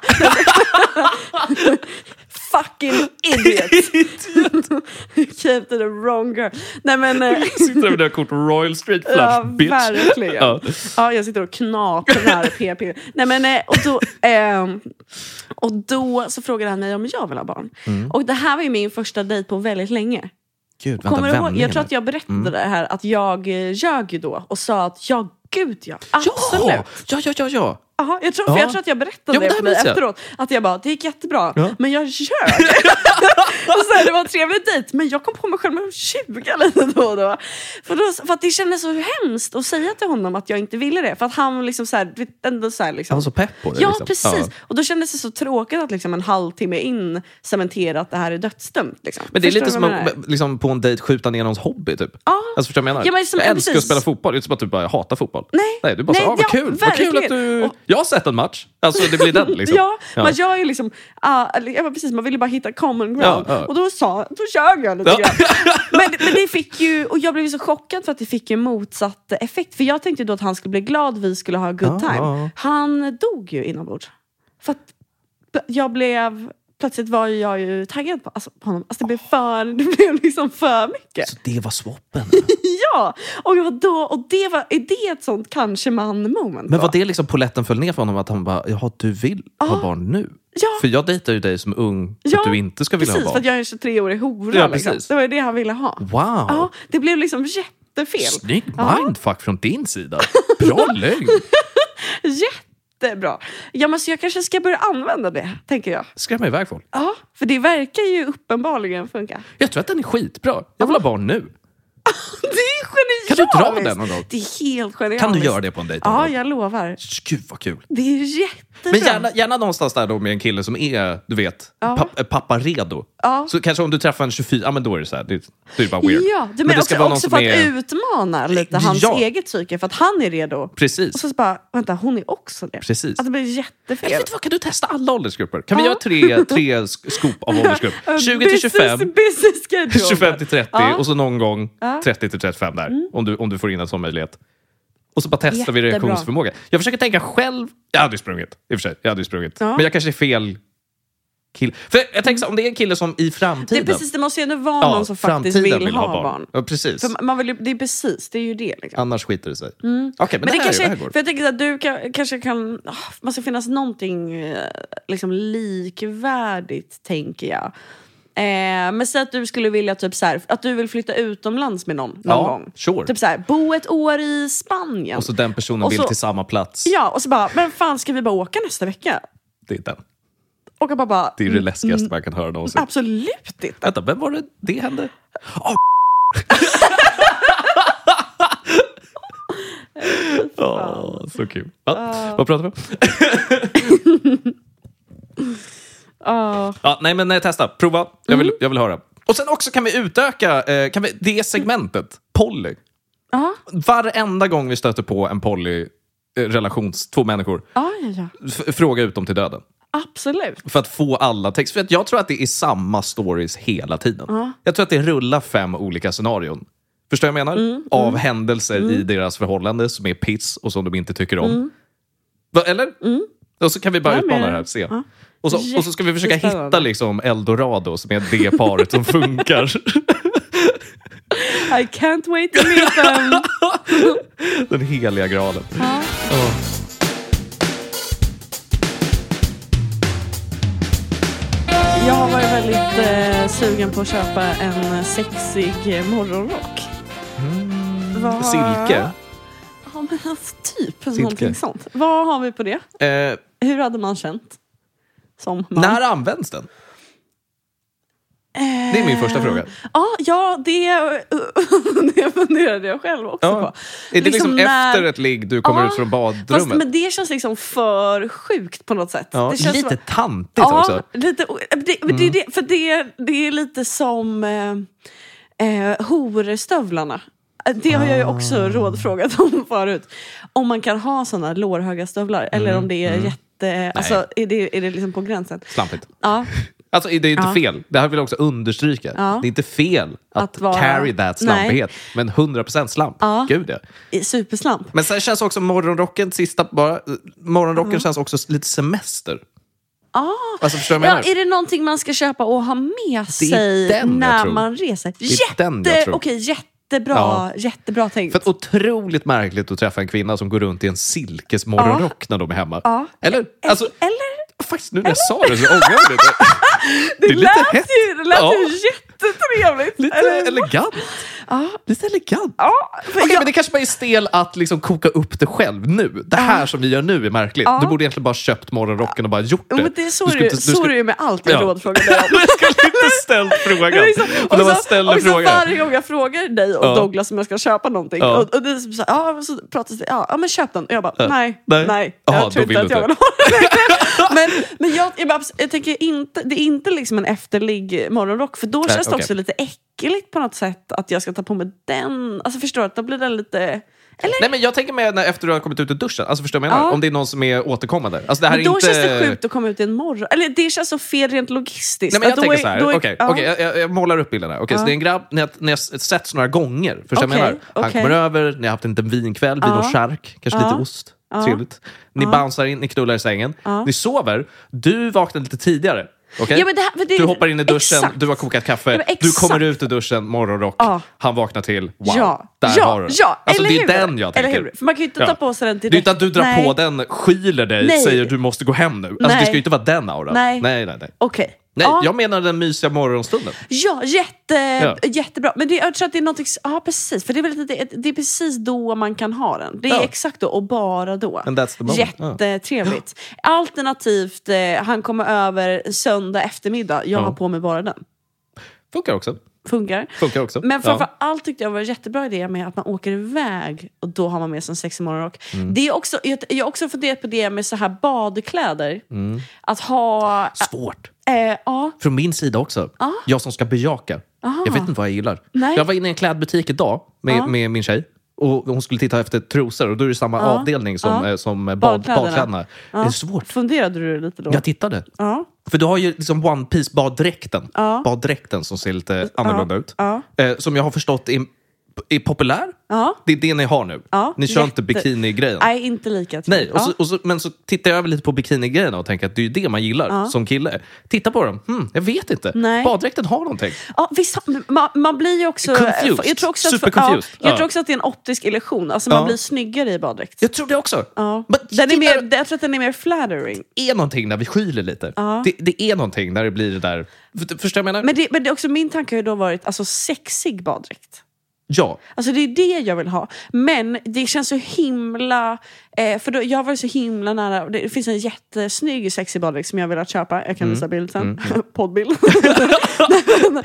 Speaker 2: Fucking idiot! You came to the wrong girl. Nej men... eh,
Speaker 1: Sitter med dina kort Royal Street Flash,
Speaker 2: ja,
Speaker 1: bitch.
Speaker 2: verkligen. Ja.
Speaker 1: Ja.
Speaker 2: jag sitter och knaprar PP. Nej men, eh, och då... ehm, och då så frågade han mig om jag vill ha barn. Och det här var ju min första dejt på väldigt länge.
Speaker 1: Gud, Mm. vänta, Mm.
Speaker 2: Kommer du ihåg? Jag
Speaker 1: vändningen
Speaker 2: tror att jag berättade det här att jag eh, ljög ju då och sa att ja, gud ja. Absolut.
Speaker 1: Ja, ja, ja, ja.
Speaker 2: Aha, jag, tror, för
Speaker 1: Ja.
Speaker 2: jag tror att jag berättade
Speaker 1: Ja, men
Speaker 2: det
Speaker 1: det
Speaker 2: för
Speaker 1: här
Speaker 2: dig
Speaker 1: minns jag.
Speaker 2: efteråt. Att jag bara, det gick jättebra,
Speaker 1: Ja.
Speaker 2: men jag ljög. Och så här, det var en trevlig dejt, men jag kom på mig själv med att tjuga lite då och då. För, då, för att det kändes så hemskt att säga till honom att jag inte ville det. För att han liksom så här, du vet, ändå så här liksom.
Speaker 1: Han var så pepp på det.
Speaker 2: Ja,
Speaker 1: liksom.
Speaker 2: precis.
Speaker 1: Ja.
Speaker 2: Och då kändes det så tråkigt att liksom en halvtimme in cementera att det här är dödsdömt. Liksom.
Speaker 1: Men det är
Speaker 2: Förstår
Speaker 1: lite
Speaker 2: du
Speaker 1: som
Speaker 2: vad jag menar?
Speaker 1: att liksom, på en dejt skjuta ner någons hobby. Typ.
Speaker 2: Ja.
Speaker 1: Alltså, förstår du vad jag menar?
Speaker 2: Ja, men som-
Speaker 1: jag
Speaker 2: ja,
Speaker 1: älskar
Speaker 2: precis.
Speaker 1: att spela fotboll. Det är inte som att du bara jag hatar fotboll.
Speaker 2: Nej.
Speaker 1: Nej du bara,
Speaker 2: Nej,
Speaker 1: så, ah, vad,
Speaker 2: ja,
Speaker 1: kul. vad kul att
Speaker 2: verkligen.
Speaker 1: du...
Speaker 2: Och-
Speaker 1: Jag har sett en match. Alltså det blir den liksom.
Speaker 2: Ja, man gör ju liksom... ah, eller, ja, men precis, man ville bara hitta common ground.
Speaker 1: Ja, ja.
Speaker 2: Och då, sa, då ljög jag lite
Speaker 1: Ja.
Speaker 2: grann. Men, men det fick ju... Och jag blev ju så chockad för att det fick ju motsatt effekt. För jag tänkte ju då att han skulle bli glad, vi skulle ha a good
Speaker 1: Ja,
Speaker 2: time.
Speaker 1: ja.
Speaker 2: Han dog ju inombords. För att p- jag blev... Plötsligt var ju jag ju taggad på, alltså, på honom. Alltså det blev för, det blev liksom för mycket.
Speaker 1: Så det var swappen.
Speaker 2: Ja! Och, jag var då, och det var, är det ett sånt kanske man-moment?
Speaker 1: Men
Speaker 2: då?
Speaker 1: var det liksom poletten föll ner för honom? Att han bara, jaha du vill ha barn nu?
Speaker 2: Ja.
Speaker 1: För jag dejtar ju dig som ung för
Speaker 2: Ja,
Speaker 1: att du inte ska vilja
Speaker 2: Precis,
Speaker 1: ha barn.
Speaker 2: för att jag är en 23-årig hora.
Speaker 1: Ja,
Speaker 2: liksom.
Speaker 1: precis.
Speaker 2: Det var ju det han ville ha.
Speaker 1: Wow!
Speaker 2: Ja, det blev liksom jättefel.
Speaker 1: Snygg
Speaker 2: Ja.
Speaker 1: mindfuck från din sida. Bra lögn!
Speaker 2: Jättebra. Ja, men så jag kanske ska börja använda det, tänker jag.
Speaker 1: Skrämma iväg folk.
Speaker 2: Ja, för det verkar ju uppenbarligen funka.
Speaker 1: Jag tror att den är skitbra. Jag vill ha barn nu.
Speaker 2: Det är genialiskt!
Speaker 1: Kan du dra den någon gång?
Speaker 2: Det är helt genialiskt.
Speaker 1: Kan du göra det på en dejt? någon
Speaker 2: Ja,
Speaker 1: gång?
Speaker 2: jag lovar.
Speaker 1: Gud vad kul.
Speaker 2: Det är jättebra.
Speaker 1: Men gärna, gärna någonstans där då med en kille som är, du vet,
Speaker 2: Ja.
Speaker 1: papp- eh, pappa redo.
Speaker 2: Ja.
Speaker 1: Så kanske om du träffar en 24, ja men då är det så här, det, det är bara weird.
Speaker 2: Ja, du menar
Speaker 1: det
Speaker 2: också, också för att utmana lite hans
Speaker 1: Ja.
Speaker 2: eget psyke, för att han är redo.
Speaker 1: Precis.
Speaker 2: Och så bara, vänta, hon är också det.
Speaker 1: Precis.
Speaker 2: Att det blir
Speaker 1: Eller
Speaker 2: jättefel.
Speaker 1: vet du vad, kan du testa alla åldersgrupper? Kan vi
Speaker 2: Ja.
Speaker 1: göra tre, tre sk- skop av åldersgrupp? 20 till
Speaker 2: Business-
Speaker 1: 25,
Speaker 2: business schedule.
Speaker 1: 25 till 30
Speaker 2: Ja.
Speaker 1: och så någon gång
Speaker 2: Ja. Mm.
Speaker 1: 30 till 35 där. Om, du, om du får in en sån möjlighet. Och så bara testar vi
Speaker 2: Jättebra.
Speaker 1: reaktionsförmåga. Jag försöker tänka själv. Jag hade ju sprungit. I och för sig. Jag hade ju sprungit.
Speaker 2: Ja.
Speaker 1: Men jag kanske är fel kille. För jag tänker så, här, om det är en kille som i
Speaker 2: Det, är
Speaker 1: framtiden...
Speaker 2: precis, det måste ju ändå vara någon som faktiskt
Speaker 1: framtiden
Speaker 2: vill, ha barn.
Speaker 1: Ja, precis.
Speaker 2: För man vill ju, det är precis, det är ju det. Liksom.
Speaker 1: Annars skiter det sig. Okej, men,
Speaker 2: Mm. Men det,
Speaker 1: det, här,
Speaker 2: kanske,
Speaker 1: det här går.
Speaker 2: för jag tänker att du kan, kanske kan, ah, måste finnas någonting eh, liksom likvärdigt tänker jag. Eh, men säg att du skulle vilja typ så här, att du vill flytta utomlands med någon någon
Speaker 1: Ja,
Speaker 2: gång.
Speaker 1: sure.
Speaker 2: Typ så här, bo ett år i Spanien.
Speaker 1: Och så den personen
Speaker 2: Och
Speaker 1: vill
Speaker 2: så-
Speaker 1: till samma plats.
Speaker 2: Ja, och så bara, men fan ska vi bara åka nästa vecka?
Speaker 1: Det är den.
Speaker 2: Och jag bara, bara
Speaker 1: Det är det läskigaste
Speaker 2: Mm.
Speaker 1: man kan höra någonsin.
Speaker 2: absolut inte.
Speaker 1: Vänta, vem var det det hände? Åh, Åh, så kul. Va? Vad pratar vi om?
Speaker 2: Ja.
Speaker 1: Ja, nej, men nej, testa. Prova. Jag vill,
Speaker 2: Mm.
Speaker 1: jag vill höra. Och sen också kan vi utöka eh, kan vi, det segmentet. Polly.
Speaker 2: Ja,
Speaker 1: Varenda gång vi stöter på en poly eh, relations, två människor,
Speaker 2: ja, ja, ja.
Speaker 1: f- fråga ut dem till döden.
Speaker 2: Absolut.
Speaker 1: För att få alla text. För att jag tror att det är samma stories hela tiden. Jag tror att det rullar fem olika scenarion. Förstår jag vad jag menar?
Speaker 2: Mm,
Speaker 1: Av händelser i deras förhållande som är piss och som de inte tycker om. Va, eller? Och så kan vi bara
Speaker 2: Mm. Jag är
Speaker 1: utmana
Speaker 2: med dig.
Speaker 1: det här och se.
Speaker 2: Ja.
Speaker 1: Och, så, och så ska vi försöka hitta
Speaker 2: Jättespännande.
Speaker 1: liksom eldorado som är det paret som funkar.
Speaker 2: I can't wait to meet them.
Speaker 1: Den heliga graalen.
Speaker 2: Ja.
Speaker 1: Ja.
Speaker 2: Jag har varit väldigt eh, sugen på att köpa en sexig eh, morgonrock. Vad-
Speaker 1: Silke.
Speaker 2: Ja, men alltså, typ någonting sånt. Vad har vi på det?
Speaker 1: Eh,
Speaker 2: Hur hade man känt? Som man?
Speaker 1: när används den? Det är min första fråga.
Speaker 2: Eh, Ja, ja det, det funderade jag själv också
Speaker 1: Ja.
Speaker 2: på.
Speaker 1: Är det liksom,
Speaker 2: Liksom när-
Speaker 1: efter ett ligg du kommer
Speaker 2: Ja,
Speaker 1: ut från badrummet?
Speaker 2: Fast, men det känns liksom för sjukt på något sätt.
Speaker 1: Ja,
Speaker 2: det känns
Speaker 1: lite
Speaker 2: som-
Speaker 1: tantigt
Speaker 2: Ja,
Speaker 1: också. Mm.
Speaker 2: lite, o- det, men det, det, för det, det är lite som eh, eh, horstövlarna. Eh, Det har jag ju
Speaker 1: Ah.
Speaker 2: också rådfrågat om förut. Om man kan ha såna lårhöga stövlar
Speaker 1: Mm,
Speaker 2: eller om det är jätte... Alltså, är det, är det liksom på gränsen?
Speaker 1: Slampigt.
Speaker 2: Ja,
Speaker 1: Alltså, det är inte
Speaker 2: Ja.
Speaker 1: fel. Det här vill jag också understryka.
Speaker 2: Ja.
Speaker 1: Det är inte fel att,
Speaker 2: Att vara-
Speaker 1: carry that slampighet. Men 100% slamp.
Speaker 2: Ja.
Speaker 1: Gud ja.
Speaker 2: i- superslamp.
Speaker 1: Men sen känns också morgonrocken, sista bara, morgonrocken
Speaker 2: Mm.
Speaker 1: känns också lite semester.
Speaker 2: Ah.
Speaker 1: Alltså förstår du vad jag
Speaker 2: Ja,
Speaker 1: menar?
Speaker 2: är det någonting man ska köpa och ha med
Speaker 1: Det är
Speaker 2: sig
Speaker 1: den jag
Speaker 2: när
Speaker 1: tror.
Speaker 2: man reser?
Speaker 1: är den jag
Speaker 2: Jätte,
Speaker 1: tror.
Speaker 2: okej, jättebra,
Speaker 1: Ja.
Speaker 2: jättebra tänkt.
Speaker 1: För att otroligt märkligt att träffa en kvinna som går runt i en silkesmorgonrock när de är hemma.
Speaker 2: Ja.
Speaker 1: Eller? Alltså,
Speaker 2: Eller?
Speaker 1: faktiskt, nu när jag sa det så ångrar jag mig lite.
Speaker 2: Det,
Speaker 1: är lite
Speaker 2: lät,
Speaker 1: hett.
Speaker 2: ju, det lät
Speaker 1: Ja.
Speaker 2: ju jättetrevligt.
Speaker 1: Lite
Speaker 2: eller?
Speaker 1: elegant. Lite elegant.
Speaker 2: Ja, för
Speaker 1: Okej,
Speaker 2: jag,
Speaker 1: men det kanske bara är stel att liksom koka upp det själv nu. Det här som vi gör nu är märkligt. Du borde egentligen bara köpt morgonrocken och bara gjort det.
Speaker 2: Jo, men det är så
Speaker 1: du
Speaker 2: du,
Speaker 1: skulle
Speaker 2: så är det ju med allt jag
Speaker 1: Ja.
Speaker 2: rådfrågar dig om.
Speaker 1: du skulle inte ställt frågan.
Speaker 2: Det är liksom-
Speaker 1: och när man
Speaker 2: så-
Speaker 1: ställer
Speaker 2: och så
Speaker 1: frågan.
Speaker 2: varje gång jag frågar dig och
Speaker 1: Ja.
Speaker 2: Douglas om jag ska köpa någonting.
Speaker 1: Ja.
Speaker 2: Och, och det är som så här, ja, men så pratas det, ja, ja men köp den. Och jag bara, nej, nej,
Speaker 1: Nej.
Speaker 2: jag
Speaker 1: Jaha,
Speaker 2: tror
Speaker 1: då vill
Speaker 2: inte att
Speaker 1: du
Speaker 2: jag
Speaker 1: inte.
Speaker 2: vill ha den. men men jag, jag, bara, jag tänker inte, det är inte liksom en efterlig morgonrock för då
Speaker 1: Nej,
Speaker 2: känns det
Speaker 1: okej.
Speaker 2: också lite äckligt på något sätt att jag ska ta på mig den. Alltså förstår du, att då blir den lite... Eller?
Speaker 1: Nej, men jag tänker med när, efter du har kommit ut ur duschen. Alltså, förstår du vad jag menar?
Speaker 2: Ja.
Speaker 1: Om det är någon som är återkommande. Alltså, det här
Speaker 2: Men då
Speaker 1: är inte...
Speaker 2: känns det sjukt att komma ut i en morgon. Eller det känns så fel rent logistiskt.
Speaker 1: Nej, men jag
Speaker 2: Att då
Speaker 1: tänker
Speaker 2: är-
Speaker 1: så här.
Speaker 2: då är-
Speaker 1: Okej,
Speaker 2: ja.
Speaker 1: okej, jag, jag, jag målar upp bilden här. Okej,
Speaker 2: Ja.
Speaker 1: Så det är en grabb, ni har, ni har setts några gånger. Förstår jag
Speaker 2: Okej,
Speaker 1: menar? Han
Speaker 2: okej.
Speaker 1: kommer över, ni har haft en liten vinkväll vid
Speaker 2: Ja.
Speaker 1: någon chark, kanske
Speaker 2: Ja.
Speaker 1: lite ost. Trevligt. Ni bouncear in, ni knullar i sängen. Ni sover. Du vaknar lite tidigare. okej?
Speaker 2: Ja, men det här- men det-
Speaker 1: du hoppar in i duschen,
Speaker 2: exakt.
Speaker 1: du har kokat
Speaker 2: Ja,
Speaker 1: kaffe,
Speaker 2: men
Speaker 1: du
Speaker 2: exakt.
Speaker 1: kommer ut ur duschen, morgonrock,
Speaker 2: Ja.
Speaker 1: han vaknar till. Wow,
Speaker 2: Ja,
Speaker 1: där
Speaker 2: ja,
Speaker 1: har du den.
Speaker 2: ja.
Speaker 1: Alltså,
Speaker 2: eller
Speaker 1: Det
Speaker 2: hur?
Speaker 1: är den jag tänker.
Speaker 2: Eller hur? För man kan ju inte ta
Speaker 1: Ja.
Speaker 2: på sig den direkt.
Speaker 1: Det är inte att du drar
Speaker 2: Nej.
Speaker 1: på den, skyler dig,
Speaker 2: Nej.
Speaker 1: säger du måste gå hem nu. Alltså,
Speaker 2: Nej.
Speaker 1: det ska ju inte vara den auran.
Speaker 2: Nej.
Speaker 1: Nej, nej, nej.
Speaker 2: Okej.
Speaker 1: Nej,
Speaker 2: ja,
Speaker 1: jag menar den mysiga morgonstunden.
Speaker 2: ja, jätte,
Speaker 1: Ja.
Speaker 2: jättebra. Men det, jag tror att det är någonting... Ja, precis. För det är, väl lite, det, det är precis då man kan ha den. Det är
Speaker 1: Ja.
Speaker 2: exakt då och bara då.
Speaker 1: And that's the moment. Ja.
Speaker 2: Jättetrevligt. Alternativt, eh, han kommer över en söndag eftermiddag. Jag
Speaker 1: Ja.
Speaker 2: har på mig bara den.
Speaker 1: Funkar också.
Speaker 2: Funkar.
Speaker 1: Funkar också.
Speaker 2: Men
Speaker 1: ja.
Speaker 2: framför allt tyckte jag var en jättebra idé med att man åker iväg och då har man med sig en sexig morgonrock.
Speaker 1: Mm.
Speaker 2: Det är också, jag jag har också funderat på det med så här badkläder.
Speaker 1: Mm.
Speaker 2: Att ha...
Speaker 1: Svårt.
Speaker 2: Eh, ja,
Speaker 1: Från min sida också. Jag som ska bejaka. Jag vet inte vad jag gillar.
Speaker 2: Ah. Nej. Ah.
Speaker 1: Jag var inne i en klädbutik idag med, med min tjej. Och hon skulle titta efter trosor och då är det samma avdelning som,
Speaker 2: Ja.
Speaker 1: eh, som bad,
Speaker 2: Ah. Badkläderna. Ah.
Speaker 1: badkläderna. Det är svårt.
Speaker 2: funderade du lite då?
Speaker 1: Jag tittade.
Speaker 2: Ja.
Speaker 1: För du har ju liksom One Piece baddräkten.
Speaker 2: Ah.
Speaker 1: Baddräkten som ser lite annorlunda ut.
Speaker 2: Ja.
Speaker 1: Eh, som jag har förstått är, är populär.
Speaker 2: Ja.
Speaker 1: Det är det ni har nu.
Speaker 2: Ja.
Speaker 1: Ni kör
Speaker 2: Ah. Jätte-
Speaker 1: inte bikini-grejen.
Speaker 2: Nej, inte lika. tror
Speaker 1: Nej,
Speaker 2: jag.
Speaker 1: och så, och så, men så tittar jag över lite på bikinigrejerna och tänker att det är ju det man gillar som kille. Titta på dem. Hmm, jag vet inte.
Speaker 2: Nej.
Speaker 1: Baddräkten har någonting.
Speaker 2: ja. Ja, visst, har- men man, man blir ju också... eh,
Speaker 1: Confused.
Speaker 2: Jag tror också, att,
Speaker 1: Super confused.
Speaker 2: Ja, jag
Speaker 1: Ja.
Speaker 2: tror också att det är en optisk illusion. Alltså man
Speaker 1: Ja.
Speaker 2: blir snyggare i baddräkt.
Speaker 1: Jag tror det också.
Speaker 2: Ja.
Speaker 1: Men
Speaker 2: Den är
Speaker 1: titta,
Speaker 2: mer, jag tror att den är mer flattering.
Speaker 1: det är någonting när vi skyler lite. Det, det är någonting när det blir det där... F- Förstår jag vad jag menar?
Speaker 2: Men, det, men det är också, min tanke har ju då varit alltså, sexig baddräkt.
Speaker 1: ja.
Speaker 2: Alltså det är det jag vill ha. Men det känns så himla... Eh, för då, jag var så himla nära... Det finns en jättesnygg sexig baddräkt som jag velat köpa. Jag
Speaker 1: Mm.
Speaker 2: kan visa bild sen. Poddbild. Nej,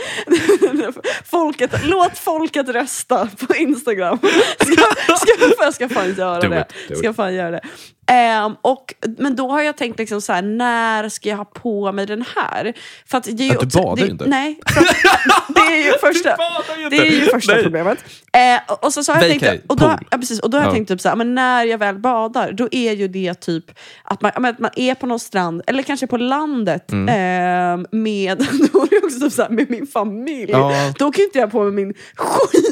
Speaker 2: men- folket, låt folket rösta på Instagram. Ska, ska, jag ska fan göra
Speaker 1: Do
Speaker 2: det.
Speaker 1: it, do it.
Speaker 2: ska fan göra det. Ehm, och, men då har jag tänkt liksom så här, när ska jag ha på mig den här? För att det är ju
Speaker 1: Att du
Speaker 2: också-
Speaker 1: badar
Speaker 2: det,
Speaker 1: inte.
Speaker 2: Nej, för, det är ju första,
Speaker 1: badar ju inte.
Speaker 2: det är ju första
Speaker 1: Nej.
Speaker 2: problemet. Eh, och- och så, så har jag
Speaker 1: Vacay,
Speaker 2: tänkt, och då,
Speaker 1: pool.
Speaker 2: ja, precis, och då har jag
Speaker 1: Ja.
Speaker 2: tänkt typ så här, men när jag väl badar, då är ju det typ att man, ja, men att man är på någon strand, eller kanske på landet,
Speaker 1: Mm.
Speaker 2: ehm, med, då är det också typ så här, med min familj.
Speaker 1: Ja.
Speaker 2: Då kan ju inte jag ha på mig min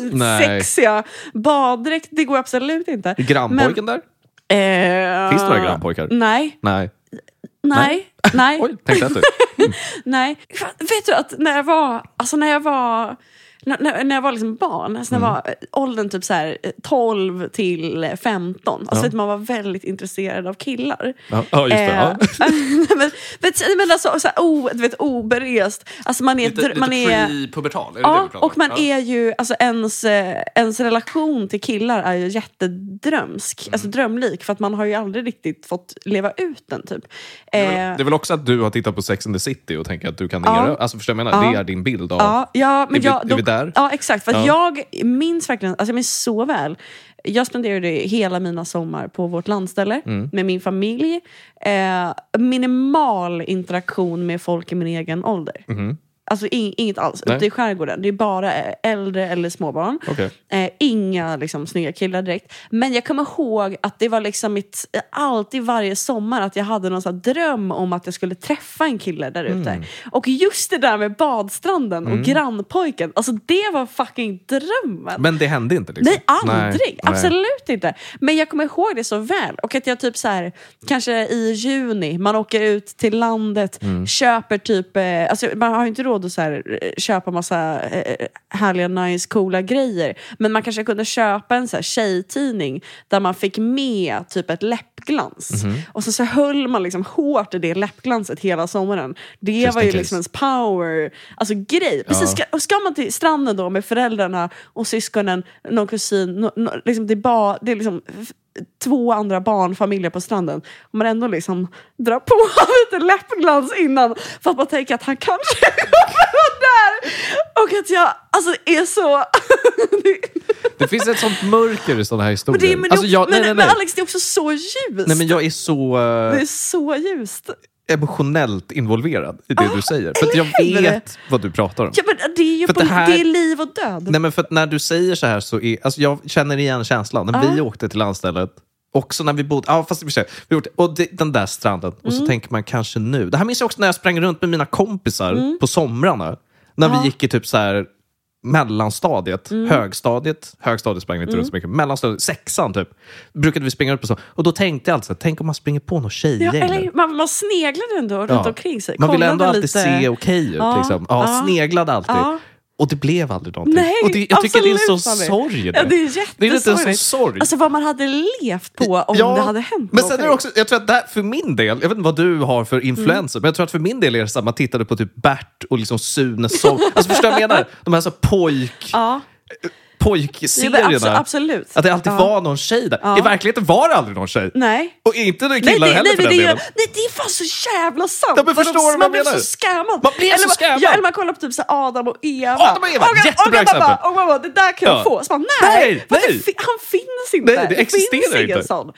Speaker 2: skitsexiga baddräkt. Det går absolut inte.
Speaker 1: Grannpojken där?
Speaker 2: Eh,
Speaker 1: Finns det några grannpojkar?
Speaker 2: Nej,
Speaker 1: Nej.
Speaker 2: nej, nej.
Speaker 1: Oj, tänkte jag inte.
Speaker 2: Nej. Fan, Vet du att när jag var, alltså när jag var, när- när, när jag var liksom barn, alltså när jag
Speaker 1: Mm.
Speaker 2: var eh, åldern typ så här eh, 12 till eh, 15, alltså
Speaker 1: Ja.
Speaker 2: vet, du, man var väldigt intresserad av killar.
Speaker 1: Ja, ja, just det. Ja.
Speaker 2: nej, men, vet, du, men alltså, så här, oh, du vet, oberest. Alltså man är... dr- man är
Speaker 1: pre-pubertal? Är
Speaker 2: Ja, och man är ju, alltså ens, eh, ens relation till killar är ju jättedrömsk,
Speaker 1: Mm.
Speaker 2: alltså drömlik för att man har ju aldrig riktigt fått leva ut den typ. Eh,
Speaker 1: Det är väl också att du har tittat på Sex and the City och tänker att du kan
Speaker 2: Ja.
Speaker 1: erövra... Alltså, förstår jag vad jag menar?
Speaker 2: Ja.
Speaker 1: Det är din bild av...
Speaker 2: Ja, ja, men
Speaker 1: Är vi-
Speaker 2: jag,
Speaker 1: är vi där?
Speaker 2: Ja, exakt. För
Speaker 1: Ja.
Speaker 2: att Jag minns verkligen, alltså jag minns så väl. Jag spenderade hela mina sommar på vårt landställe
Speaker 1: Mm.
Speaker 2: med min familj. Eh, minimal interaktion med folk i min egen ålder. Alltså in, inget alls.
Speaker 1: Mm-hmm. Nej.
Speaker 2: Ute i skärgården. Det är bara eh, äldre eller småbarn.
Speaker 1: Okej.
Speaker 2: Eh, inga liksom, snygga killar direkt. Men jag kommer ihåg att det var liksom mitt, eh, alltid varje sommar att jag hade någon sån här dröm om att jag skulle träffa en kille där ute. Och just det där med badstranden och grannpojken, alltså det var fucking drömmen.
Speaker 1: Men det hände inte? Liksom.
Speaker 2: Nej, aldrig.
Speaker 1: Nej.
Speaker 2: Absolut inte. Men jag kommer ihåg det så väl. Och att jag typ så här,
Speaker 1: Mm.
Speaker 2: kanske i juni, man åker ut till landet, köper typ, eh, alltså man har ju inte råd råd att så här, eh, köpa massa eh, härliga, nice, coola grejer. Men man kanske kunde köpa en så här, tjejtidning där man fick med typ ett läppglans.
Speaker 1: Mhm.
Speaker 2: Och så, så höll man liksom hårt i det läppglanset hela sommaren. Det
Speaker 1: Just
Speaker 2: var
Speaker 1: in
Speaker 2: ju
Speaker 1: case.
Speaker 2: liksom ens power, alltså grej. Precis, ska, och ska man till stranden då med föräldrarna och syskonen, någon kusin, no, no, liksom det, är bara, det är liksom f- två andra barnfamiljer på stranden. Om man ändå liksom drar på lite läppglans innan för att man tänker att han kanske kommer vara där. Och att jag alltså är så...
Speaker 1: Det finns ett sånt mörker i sådana här
Speaker 2: men
Speaker 1: historier.
Speaker 2: det, men, det,
Speaker 1: alltså, jag,
Speaker 2: men,
Speaker 1: nej, nej, nej.
Speaker 2: men Alex, det är också så ljust.
Speaker 1: nej, men jag är så eh,
Speaker 2: Det är så ljust.
Speaker 1: emotionellt involverad i det
Speaker 2: Ah,
Speaker 1: du säger. För att jag
Speaker 2: eller hur?
Speaker 1: vet vad du pratar om.
Speaker 2: Ja, men det är ju
Speaker 1: För
Speaker 2: på,
Speaker 1: det
Speaker 2: det,
Speaker 1: här-
Speaker 2: är liv och död.
Speaker 1: Nej, men för att när du säger så här så är... Alltså jag känner igen känslan. När vi åkte till landstället, också när vi bodde... Ja, fast i och för sig. Vi åkte, och det, den där stranden. Och
Speaker 2: Mm.
Speaker 1: så tänker man kanske nu. Det här minns jag också när jag sprang runt med mina kompisar
Speaker 2: Mm.
Speaker 1: på somrarna. När vi gick i typ så här mellanstadiet,
Speaker 2: Mm.
Speaker 1: högstadiet, högstadiet sprang vi inte runt så mycket, mellanstadiet, sexan typ, brukade vi springa upp och så. Och då tänkte jag alltid så här, tänk om man springer på något
Speaker 2: Ja,
Speaker 1: tjejgäng. nu.
Speaker 2: eller man, man sneglade ändå runt omkring sig.
Speaker 1: Man vill
Speaker 2: kollade
Speaker 1: ändå alltid
Speaker 2: lite.
Speaker 1: se okej ut.
Speaker 2: Ja,
Speaker 1: Liksom. Ja,
Speaker 2: ja.
Speaker 1: Sneglad alltid.
Speaker 2: Ja.
Speaker 1: Och det blev aldrig någonting.
Speaker 2: Nej,
Speaker 1: och det, jag tycker det är en
Speaker 2: absolut,
Speaker 1: sån
Speaker 2: Fanny.
Speaker 1: sorg. i
Speaker 2: Ja, det är
Speaker 1: det är lite en sån
Speaker 2: jättesorgligt.
Speaker 1: sorg.
Speaker 2: Alltså vad man hade levt på om
Speaker 1: Ja,
Speaker 2: det hade hänt Mm.
Speaker 1: men
Speaker 2: något.
Speaker 1: sen är det också, jag tror att det här, för min del, jag vet inte vad du har för influenser, men jag tror att för min del är det så att man tittade på typ Bert och liksom Sune Sol. Alltså förstår du vad jag menar? De här så pojk,
Speaker 2: Ja, jo, men
Speaker 1: pojkserierna.
Speaker 2: abso- absolut.
Speaker 1: Att det alltid
Speaker 2: ja.
Speaker 1: var någon tjej där. I verkligheten var det aldrig någon tjej.
Speaker 2: Nej.
Speaker 1: Och inte några
Speaker 2: Nej
Speaker 1: killar
Speaker 2: det, nej,
Speaker 1: heller
Speaker 2: men
Speaker 1: för den
Speaker 2: det, är,
Speaker 1: delen.
Speaker 2: nej, det är fan så jävla sant!
Speaker 1: Ja, men
Speaker 2: Vad
Speaker 1: förstår du vad
Speaker 2: man
Speaker 1: jag
Speaker 2: blev
Speaker 1: menar?
Speaker 2: så scammad!
Speaker 1: Man blev
Speaker 2: eller
Speaker 1: så
Speaker 2: man,
Speaker 1: scammad.
Speaker 2: Ja, eller man kollar på typ så här Adam och Eva.
Speaker 1: Adam och Eva,
Speaker 2: Och,
Speaker 1: jättebra
Speaker 2: och, jag
Speaker 1: exempel.
Speaker 2: Bara, och man bara, det där kan
Speaker 1: Ja.
Speaker 2: jag få. Så man, nej,
Speaker 1: Nej,
Speaker 2: för att det
Speaker 1: nej.
Speaker 2: fi- han finns inte.
Speaker 1: Nej, det existerar
Speaker 2: finns ingen
Speaker 1: inte.
Speaker 2: sån.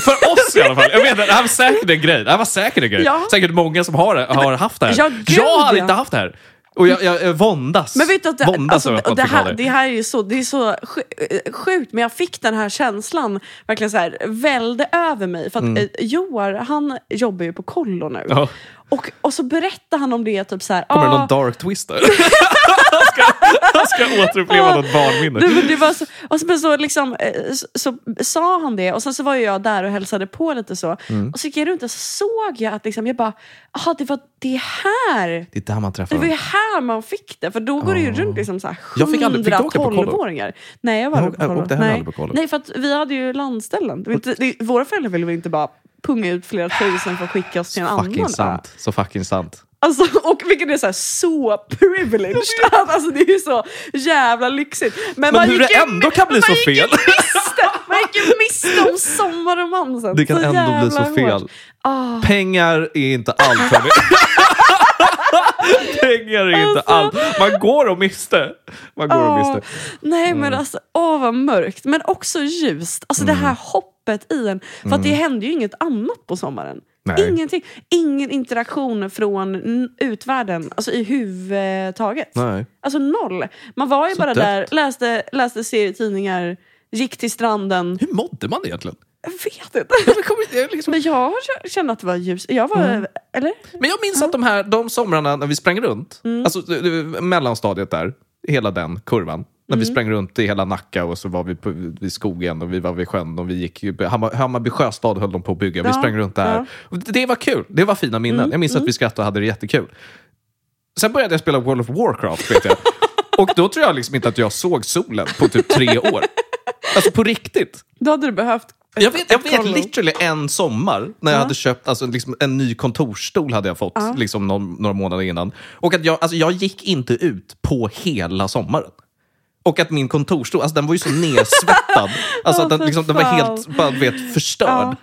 Speaker 1: För oss i alla fall. Jag menar, det här var säkert en grej. Det här var säkert en grej.
Speaker 2: Ja.
Speaker 1: Säkert många som har, har haft det här.
Speaker 2: Ja, gud,
Speaker 1: jag hade
Speaker 2: ja.
Speaker 1: inte haft det här. Och jag, jag, jag våndas.
Speaker 2: Men vet du att det,
Speaker 1: våndas över att
Speaker 2: alltså,
Speaker 1: man
Speaker 2: det,
Speaker 1: fick ha det.
Speaker 2: här, det här är ju så, det är så sj- eh, sjukt, men jag fick den här känslan verkligen så här, välde över mig. För att eh, Joar, han jobbar ju på kollo nu.
Speaker 1: Mm. Ja.
Speaker 2: Och, och så berättar han om det, typ så här...
Speaker 1: Kommer det
Speaker 2: "Ah,
Speaker 1: någon dark twist där? Han ska, han ska återuppleva något
Speaker 2: Du,
Speaker 1: barnminne.
Speaker 2: men det var så, och så, men så, liksom, eh, så, så sa han det och sen så var ju jag där och hälsade på lite så.
Speaker 1: Mm.
Speaker 2: Och så gick jag runt och så såg jag att liksom, jag bara, jaha det var det här.
Speaker 1: Det är där man
Speaker 2: Det
Speaker 1: träffar
Speaker 2: var ju
Speaker 1: dem.
Speaker 2: här man fick det, för då går det ju runt liksom så här
Speaker 1: Jag fick aldrig- fick du åka på kollo?
Speaker 2: 112-åringar. Nej, jag var
Speaker 1: Jag åk-
Speaker 2: aldrig på kollo.
Speaker 1: åkte heller
Speaker 2: Nej.
Speaker 1: aldrig på kollo.
Speaker 2: Nej, för att vi hade ju landställen. Det var inte, det, våra föräldrar ville väl inte bara punga ut flera tusen för att skicka oss till en annan.
Speaker 1: Fucking
Speaker 2: ö.
Speaker 1: sant. Så fucking sant.
Speaker 2: Alltså, och vilket är så, här, så privileged. Alltså, det är ju så jävla lyxigt. Men,
Speaker 1: Men hur
Speaker 2: gick
Speaker 1: det
Speaker 2: ju
Speaker 1: ändå kan bli
Speaker 2: man
Speaker 1: så
Speaker 2: gick
Speaker 1: fel.
Speaker 2: ju miste, man gick ju miste om sommarromansen.
Speaker 1: Det kan
Speaker 2: så
Speaker 1: ändå bli
Speaker 2: jävla
Speaker 1: så fel.
Speaker 2: hårt. Ah.
Speaker 1: Pengar är inte allt hörni. Pengar är inte
Speaker 2: Alltså.
Speaker 1: allt. Man går och miste. Man går och Mm.
Speaker 2: Ja.
Speaker 1: miste.
Speaker 2: Nej men alltså, åh vad mörkt. Men också ljust. Alltså
Speaker 1: Mm.
Speaker 2: det här hoppet i en. För att det hände ju inget annat på sommaren.
Speaker 1: Nej.
Speaker 2: Ingenting. Ingen interaktion från n- utvärlden, alltså i huvudtaget.
Speaker 1: Nej.
Speaker 2: Alltså noll. Man var ju bara
Speaker 1: dött.
Speaker 2: där, läste, läste serietidningar, gick till stranden.
Speaker 1: Hur mådde man egentligen?
Speaker 2: Jag vet inte.
Speaker 1: Jag kommer inte- jag liksom-
Speaker 2: Men jag kände att det var ljus. Jag var,
Speaker 1: Mm.
Speaker 2: eller?
Speaker 1: Men jag minns att de här de somrarna när vi sprang runt,
Speaker 2: Mm.
Speaker 1: alltså det- det- mellanstadiet där, hela den kurvan. När
Speaker 2: Mm.
Speaker 1: vi sprang runt i hela Nacka och så var vi på, vid skogen och vi var vid sjön och vi gick ju- Hammar, Hammarby sjöstad höll de på att bygga. Vi
Speaker 2: Ja,
Speaker 1: sprang runt där.
Speaker 2: ja. Mm,
Speaker 1: Och Det det var kul. Det var fina minnen. Jag minns att vi skrattade och hade det jättekul. Sen började jag spela World of Warcraft, vet jag. och då tror jag liksom inte att jag såg solen på typ tre år. Alltså på riktigt.
Speaker 2: Då hade du behövt...
Speaker 1: Jag vet, jag vet
Speaker 2: kollo.
Speaker 1: literally en sommar när jag hade köpt alltså, liksom, en ny kontorsstol hade jag fått liksom, någon, några månader innan. Och att jag, alltså, jag gick inte ut på hela sommaren. Och att min kontorsstol, alltså, den var ju så nedsvettad. alltså, att den,
Speaker 2: Åh, för
Speaker 1: liksom, den var
Speaker 2: fan.
Speaker 1: helt bara, du vet, förstörd.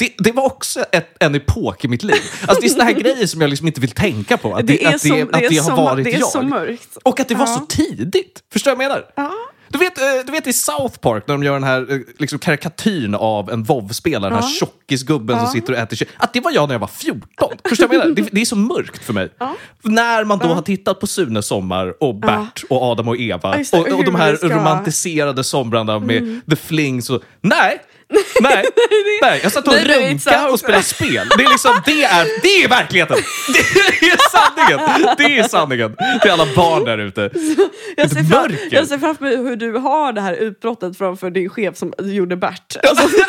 Speaker 1: Det, det var också ett, en epok i mitt liv. Alltså, det är såna här grejer som jag liksom inte vill tänka på. Att det,
Speaker 2: Det är
Speaker 1: att det,
Speaker 2: som-
Speaker 1: att det,
Speaker 2: det är
Speaker 1: har
Speaker 2: som-
Speaker 1: varit
Speaker 2: det är
Speaker 1: jag.
Speaker 2: så mörkt.
Speaker 1: Och att det var
Speaker 2: Ja.
Speaker 1: så tidigt. Förstår du vad jag menar? Du vet, eh, du vet i South Park när de gör den här eh, liksom, karikatyn av en WoW-spelare, den här tjockisgubben som sitter och äter kött. Att det var jag när jag var 14. Förstår du vad jag menar? Det, det är så mörkt för mig. När man då har tittat på Sune Sommar och Bert och Adam och Eva
Speaker 2: Ja, just det,
Speaker 1: och, och de
Speaker 2: hur
Speaker 1: här
Speaker 2: det ska-
Speaker 1: romantiserade somrarna med
Speaker 2: Mm.
Speaker 1: The Flings och... Nej! Nej, nej, jag satt och
Speaker 2: Nej, det är inte
Speaker 1: runkade
Speaker 2: sant.
Speaker 1: och spelade spel. Det är liksom, det är, det är verkligheten! Det är sanningen! Det är sanningen till alla barn där ute.
Speaker 2: Jag ser, fram,
Speaker 1: mörker.
Speaker 2: jag ser framför mig hur du har Alltså, det här utbrottet framför din chef som gjorde Bert.
Speaker 1: Alltså, du,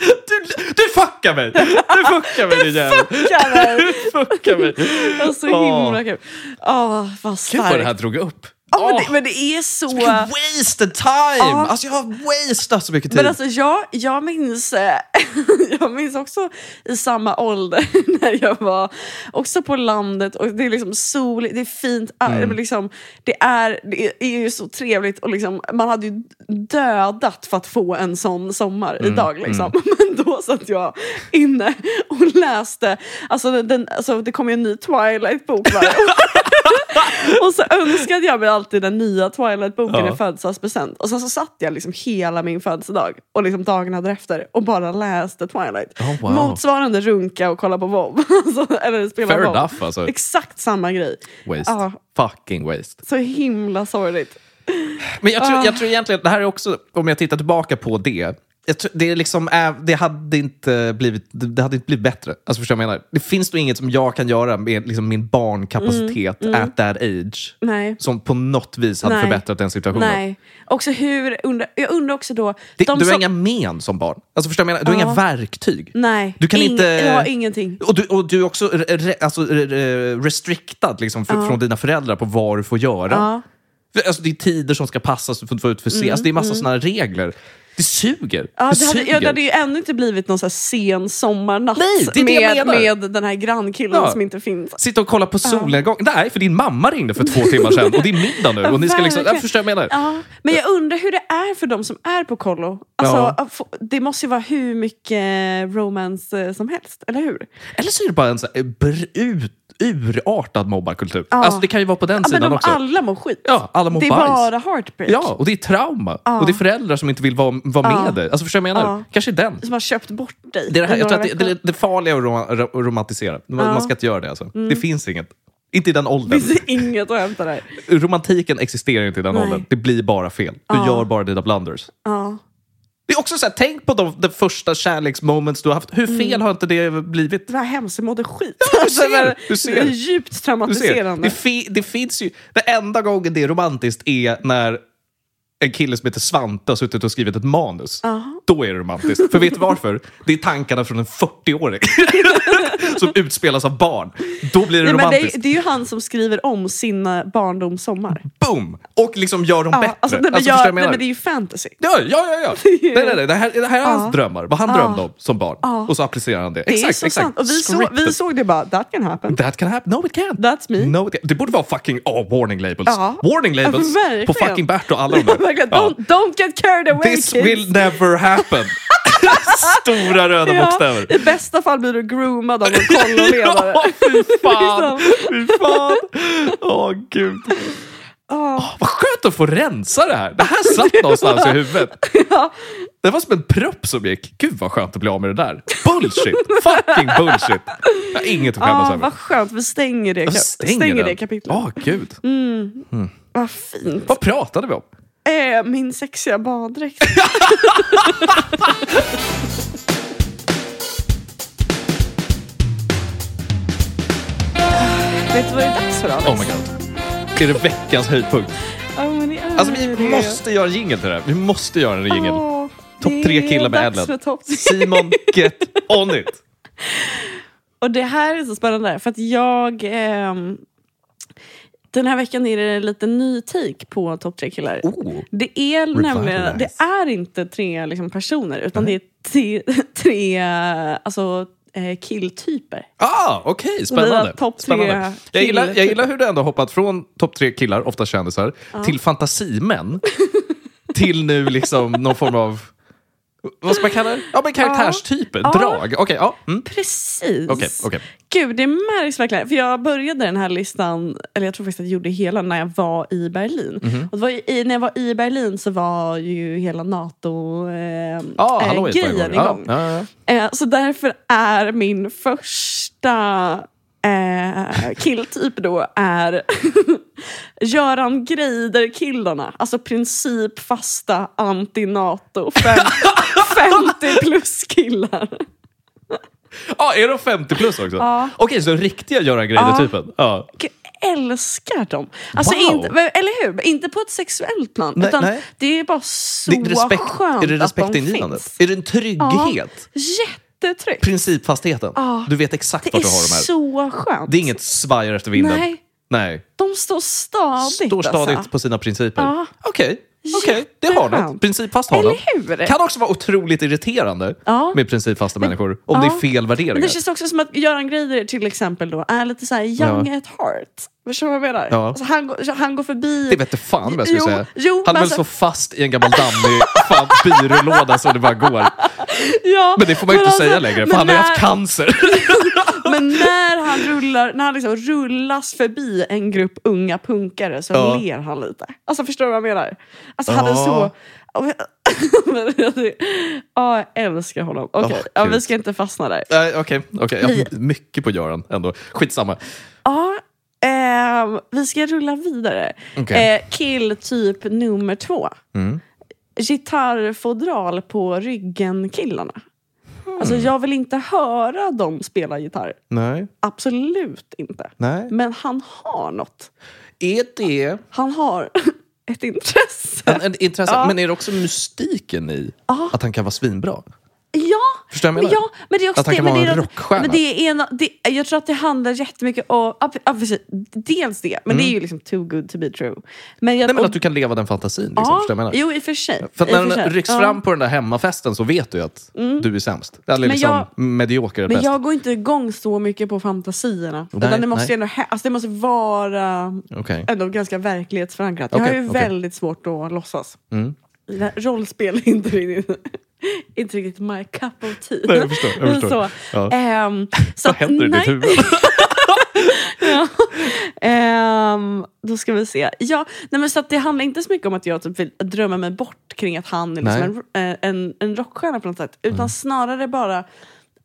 Speaker 1: du Du fuckar mig! Du fuckar mig din jävel!
Speaker 2: Jävlar.
Speaker 1: Du fuckar mig!
Speaker 2: Det var så
Speaker 1: Åh.
Speaker 2: himla kul. Åh, vad
Speaker 1: Gud vad det här
Speaker 2: starkt.
Speaker 1: drog upp.
Speaker 2: Ja, men,
Speaker 1: Åh.
Speaker 2: det, men det är så...
Speaker 1: Vilken wasted time!
Speaker 2: Ja.
Speaker 1: Alltså jag har wasted så mycket tid.
Speaker 2: Men alltså jag, jag, minns, eh, jag minns också i samma ålder när jag var också på landet och det är liksom soligt, det är fint, ah,
Speaker 1: Mm.
Speaker 2: men liksom, det, är, det är ju så trevligt och liksom, man hade ju dödat för att få en sån sommar
Speaker 1: Mm,
Speaker 2: idag. Liksom. Men då satt jag inne och läste, alltså, den- den, alltså det kom ju en ny Twilight-bok varje år. Och så önskade jag mig alltid den nya Twilight-boken
Speaker 1: Ja.
Speaker 2: i födelsedagspresent. Och sen så satt jag liksom hela min födelsedag och liksom dagarna därefter och bara läste Twilight.
Speaker 1: Oh, wow.
Speaker 2: Motsvarande runka och kolla på WoW. Alltså, Eller spela
Speaker 1: Fair
Speaker 2: WoW.
Speaker 1: enough alltså.
Speaker 2: Exakt samma grej.
Speaker 1: Waste.
Speaker 2: Ja.
Speaker 1: Fucking waste.
Speaker 2: Så himla sorgligt.
Speaker 1: Men jag
Speaker 2: Ah.
Speaker 1: tror, jag tror egentligen, det här är också, om jag tittar tillbaka på det, jag tror, det, är liksom, äh, det, hade inte blivit, det det hade inte blivit bättre. Alltså förstår du vad jag menar? Det finns nog inget som jag kan göra med liksom, min barnkapacitet at that age
Speaker 2: Mm, Nej.
Speaker 1: som på något vis hade
Speaker 2: Nej.
Speaker 1: förbättrat den situationen.
Speaker 2: Nej. Också hur, undra, jag undrar också då...
Speaker 1: Det,
Speaker 2: de
Speaker 1: du har
Speaker 2: som-
Speaker 1: inga men som barn. Alltså förstår du vad jag menar? Du har
Speaker 2: Ja.
Speaker 1: inga verktyg.
Speaker 2: Nej,
Speaker 1: Du kan
Speaker 2: ing-
Speaker 1: inte-
Speaker 2: jag har ingenting.
Speaker 1: Och du, och du är också re, re, alltså, re, re, restriktad liksom, fr- från dina föräldrar på vad du får göra.
Speaker 2: Ja. Mm,
Speaker 1: För, Alltså, det är tider som ska passas, du får inte vara ute för sent. alltså, det är massa såna här regler. Det suger.
Speaker 2: Ja, det, hade,
Speaker 1: suger.
Speaker 2: ja, det hade ju ännu inte blivit någon så här sen sommarnatt
Speaker 1: Nej, det är det jag
Speaker 2: med,
Speaker 1: menar.
Speaker 2: med den här grannkillen
Speaker 1: Ja.
Speaker 2: som inte finns.
Speaker 1: Sitta och kolla på solnedgång. Nej, för din mamma ringde för två timmar sedan och det är middag nu. Och ni ska liksom, jag
Speaker 2: verkligen.
Speaker 1: förstår vad jag menar.
Speaker 2: Ja, men jag undrar hur det är för de som är på kollo. Alltså,
Speaker 1: Ja.
Speaker 2: att få- Det måste ju vara hur mycket romance eh, som helst, eller hur?
Speaker 1: Eller så är det bara en så här eh, br- ut, urartad mobbarkultur.
Speaker 2: Ja.
Speaker 1: Alltså, det kan ju vara på den
Speaker 2: Ja, men
Speaker 1: sidan
Speaker 2: de,
Speaker 1: också.
Speaker 2: alla mår skit.
Speaker 1: Ja, alla mår
Speaker 2: det är
Speaker 1: bajs.
Speaker 2: bara heartbreak.
Speaker 1: Ja, och det är trauma. Och det är föräldrar som inte vill vara, vara med dig. Alltså, förstår du vad jag menar?
Speaker 2: Ja.
Speaker 1: Kanske den.
Speaker 2: Som har köpt bort dig.
Speaker 1: Det är det, här,
Speaker 2: i
Speaker 1: jag tror
Speaker 2: några
Speaker 1: att det,
Speaker 2: veckor.
Speaker 1: det, är det farliga är att rom- ro- romantisera. Man, man ska inte göra det. Alltså.
Speaker 2: Mm.
Speaker 1: Det finns inget. Inte i den åldern.
Speaker 2: finns inget att hämta där.
Speaker 1: Romantiken existerar inte i den
Speaker 2: Nej.
Speaker 1: åldern. Det blir bara fel. Du gör bara dina blunders.
Speaker 2: Ja.
Speaker 1: Det är också så här, tänk på de, de första kärleksmoments du har haft. Hur fel
Speaker 2: Mm.
Speaker 1: har inte det blivit?
Speaker 2: Det var hemskt, jag mådde skit. Alltså,
Speaker 1: ser,
Speaker 2: men-
Speaker 1: du ser.
Speaker 2: Det är djupt
Speaker 1: Du ser,
Speaker 2: traumatiserande.
Speaker 1: det, fi, det finns ju... Det enda gången det är romantiskt är när en kille som heter Svante har suttit och skrivit ett manus. Då är det romantiskt. För vet du varför? Det är tankarna från en 40-åring som utspelas av barn. Då blir det
Speaker 2: Nej, men det,
Speaker 1: romantiskt.
Speaker 2: är, det är ju han som skriver om sina barndomssommar.
Speaker 1: boom! Och liksom gör dem bättre.
Speaker 2: Ja, alltså, nej, men
Speaker 1: Alltså,
Speaker 2: jag,
Speaker 1: förstår du vad
Speaker 2: nej,
Speaker 1: jag
Speaker 2: men det
Speaker 1: menar?
Speaker 2: är ju fantasy.
Speaker 1: Ja, ja, ja. ja.
Speaker 2: är ju-
Speaker 1: Nej, nej, nej. Det, här, det här är hans drömmar. Vad han drömde om som barn. Och så applicerar han det.
Speaker 2: Det är
Speaker 1: exakt,
Speaker 2: så
Speaker 1: exakt.
Speaker 2: sant. Och vi, så,
Speaker 1: Scripted.
Speaker 2: vi såg det bara, that can happen.
Speaker 1: That can happen. No it can't.
Speaker 2: That's me.
Speaker 1: No, it can't. Det borde vara fucking oh, warning labels.
Speaker 2: Ja.
Speaker 1: Warning labels
Speaker 2: Ja, verkligen.
Speaker 1: på fucking Bert och alla de
Speaker 2: Ja,
Speaker 1: där.
Speaker 2: verkligen.
Speaker 1: Ja.
Speaker 2: Don't, don't get carried away
Speaker 1: This
Speaker 2: kids.
Speaker 1: will never happen. Stora röda
Speaker 2: ja,
Speaker 1: bokstäver.
Speaker 2: I bästa fall blir du groomad av en kolloledare.
Speaker 1: Ja, fy fan!
Speaker 2: Liksom.
Speaker 1: Fy fan! Åh, gud.
Speaker 2: Ja.
Speaker 1: Vad skönt att få rensa det här. Det här satt någonstans i huvudet.
Speaker 2: Ja.
Speaker 1: Det var som en propp som gick. Gud vad skönt att bli av med det där. Bullshit! Fucking bullshit! Jag har inget att
Speaker 2: Ja,
Speaker 1: skämmas över.
Speaker 2: vad skönt, vi stänger det,
Speaker 1: Jag
Speaker 2: kap-
Speaker 1: stänger,
Speaker 2: stänger
Speaker 1: den.
Speaker 2: det kapitlet. Mm.
Speaker 1: Åh, gud.
Speaker 2: Vad fint.
Speaker 1: Vad pratade vi om?
Speaker 2: Eh, min sexiga baddräkt. Vet du vad det är dags för Alex?
Speaker 1: Oh my god. Är det veckans höjdpunkt?
Speaker 2: Ja, men det är
Speaker 1: Alltså vi
Speaker 2: det.
Speaker 1: måste göra jingel till det här. Vi måste göra en jingel.
Speaker 2: Åh,
Speaker 1: Topp
Speaker 2: det
Speaker 1: tre
Speaker 2: är
Speaker 1: killar med
Speaker 2: dags för
Speaker 1: Adlen.
Speaker 2: topp tre.
Speaker 1: Simon, get on it!
Speaker 2: Och det här är så spännande för att jag... ehm, den här veckan är det lite ny take på topp tre killar.
Speaker 1: Oh.
Speaker 2: Det är nämligen, det är inte tre liksom, personer utan det är tre, tre alltså, eh, killtyper.
Speaker 1: Ah, okej, spännande.
Speaker 2: Våra topp tre
Speaker 1: spännande. Jag, gillar, jag gillar hur du ändå har hoppat från topp tre killar, ofta kändisar, till fantasimän. till nu liksom någon form av, vad ska man kalla det? Ja, men karaktärstyper,
Speaker 2: Ja. Eh,
Speaker 1: drag. Okej, ja. Mm.
Speaker 2: Precis.
Speaker 1: Okej, okej.
Speaker 2: Gud, det märks verkligen. För jag började den här listan, eller jag tror faktiskt att jag gjorde hela när jag var i Berlin.
Speaker 1: Mhm.
Speaker 2: Och det var ju, i, när jag var i Berlin så var ju hela NATO-grejen
Speaker 1: Ah, hallå,
Speaker 2: igång.
Speaker 1: Ja, ja, ja.
Speaker 2: Eh, så därför är min första eh, killtyp då är Göran Greider-killarna. Alltså principfasta anti-Nato fem- 50 plus-killar.
Speaker 1: Ja, Ah, är de 50 plus också?
Speaker 2: Ja.
Speaker 1: Okej, så riktiga Göran Greider-typen. Ja.
Speaker 2: Jag älskar dem. Alltså
Speaker 1: Wow.
Speaker 2: inte, eller hur? Inte på ett sexuellt plan.
Speaker 1: Nej,
Speaker 2: utan
Speaker 1: nej.
Speaker 2: det är bara så
Speaker 1: Det är respekt,
Speaker 2: skönt
Speaker 1: är det
Speaker 2: att de
Speaker 1: respektingivande?
Speaker 2: finns.
Speaker 1: Är det en trygghet?
Speaker 2: Jätte jättetryggt.
Speaker 1: Principfastheten.
Speaker 2: Ja.
Speaker 1: Du vet exakt
Speaker 2: Det
Speaker 1: vart
Speaker 2: är
Speaker 1: du har de här.
Speaker 2: så skönt.
Speaker 1: Det är inget svajar efter vinden.
Speaker 2: Nej,
Speaker 1: Nej.
Speaker 2: de står stadigt.
Speaker 1: Står stadigt
Speaker 2: Alltså.
Speaker 1: på sina principer.
Speaker 2: Ja.
Speaker 1: Okej, okej. det har något.
Speaker 2: Jätteskönt.
Speaker 1: Principfast har något.
Speaker 2: Eller hur?
Speaker 1: Kan också vara otroligt irriterande
Speaker 2: Ja.
Speaker 1: med principfasta människor om det
Speaker 2: Ja.
Speaker 1: är fel värderingar.
Speaker 2: Men det känns också som att Göran Greider till exempel då är lite så här young
Speaker 1: Ja.
Speaker 2: at heart. Förstår du vad jag menar?
Speaker 1: Ja.
Speaker 2: Alltså, han, går, han går förbi...
Speaker 1: Det vete fan vad jag skulle
Speaker 2: Jo,
Speaker 1: säga.
Speaker 2: jo,
Speaker 1: han är
Speaker 2: men
Speaker 1: väl
Speaker 2: alltså-
Speaker 1: så fast i en gammal dammig fan, byrålåda så det bara går.
Speaker 2: ja,
Speaker 1: Men det får man ju
Speaker 2: men
Speaker 1: inte
Speaker 2: alltså,
Speaker 1: säga längre, för
Speaker 2: men
Speaker 1: han har ju haft
Speaker 2: när-
Speaker 1: cancer.
Speaker 2: Men när han, rullar, när han liksom rullas förbi en grupp unga punkare så
Speaker 1: Ja.
Speaker 2: ler han lite. Alltså förstår du vad jag menar? Alltså han är
Speaker 1: Ja.
Speaker 2: så... Men jag- ja, jag älskar honom. Okej,
Speaker 1: Åh,
Speaker 2: ja,
Speaker 1: kul.
Speaker 2: vi ska inte fastna där.
Speaker 1: Nej, Okej, okej. Jag har mycket på Göran ändå. Skitsamma.
Speaker 2: Ja, ehm, vi ska rulla vidare.
Speaker 1: Okej.
Speaker 2: Eh, kill typ nummer två.
Speaker 1: Mm.
Speaker 2: Gitarrfodral på ryggen-killarna.
Speaker 1: Hmm.
Speaker 2: Alltså jag vill inte höra dem spela gitarr.
Speaker 1: Nej,
Speaker 2: Absolut inte.
Speaker 1: nej.
Speaker 2: Men han har något.
Speaker 1: Är det
Speaker 2: Han har ett intresse.
Speaker 1: en, en, intressant?
Speaker 2: Ja.
Speaker 1: Men är det också mystiken i
Speaker 2: Ja.
Speaker 1: att han kan vara svinbra?
Speaker 2: Ja,
Speaker 1: Förstår du vad jag
Speaker 2: men,
Speaker 1: menar?
Speaker 2: ja, men det är också
Speaker 1: Att han
Speaker 2: det,
Speaker 1: kan
Speaker 2: men
Speaker 1: vara
Speaker 2: det är
Speaker 1: en
Speaker 2: något-
Speaker 1: rockstjärna.
Speaker 2: Men det är en, det, jag tror att det handlar jättemycket om... ja, pre- ja, precis. Dels det, men det är ju liksom too good to be true. Men jag,
Speaker 1: Mm. Nej, men
Speaker 2: och-
Speaker 1: att du kan leva den fantasin. Liksom,
Speaker 2: ja,
Speaker 1: förstår du vad jag menar?
Speaker 2: jo, i och för sig.
Speaker 1: För att
Speaker 2: I
Speaker 1: när
Speaker 2: och för
Speaker 1: den
Speaker 2: sig.
Speaker 1: rycks
Speaker 2: Ja. Mm.
Speaker 1: fram på den där hemmafesten så vet du ju att du är sämst. Eller
Speaker 2: Men
Speaker 1: liksom
Speaker 2: jag-
Speaker 1: medioker är
Speaker 2: Men
Speaker 1: bäst.
Speaker 2: jag går inte igång så mycket på fantasierna.
Speaker 1: Nej,
Speaker 2: utan det, måste
Speaker 1: nej.
Speaker 2: ju ändå, hä- alltså det måste vara eh,
Speaker 1: Okej.
Speaker 2: ändå ganska verklighetsförankrat. jag
Speaker 1: Okej,
Speaker 2: har ju
Speaker 1: okej.
Speaker 2: väldigt svårt att låtsas.
Speaker 1: Mm.
Speaker 2: Det- Rollspel är inte riktigt, inte riktigt my cup of tea.
Speaker 1: Nej, jag förstår. Jag förstår.
Speaker 2: Så,
Speaker 1: Ja.
Speaker 2: ehm, så
Speaker 1: Vad
Speaker 2: att-
Speaker 1: händer i
Speaker 2: nej,
Speaker 1: ditt huvud?
Speaker 2: ehm, då ska vi se. Ja, nej, men så att det handlar inte så mycket om att jag typ vill drömma mig bort kring att han är liksom en, en, en rockstjärna på något sätt. Utan snarare bara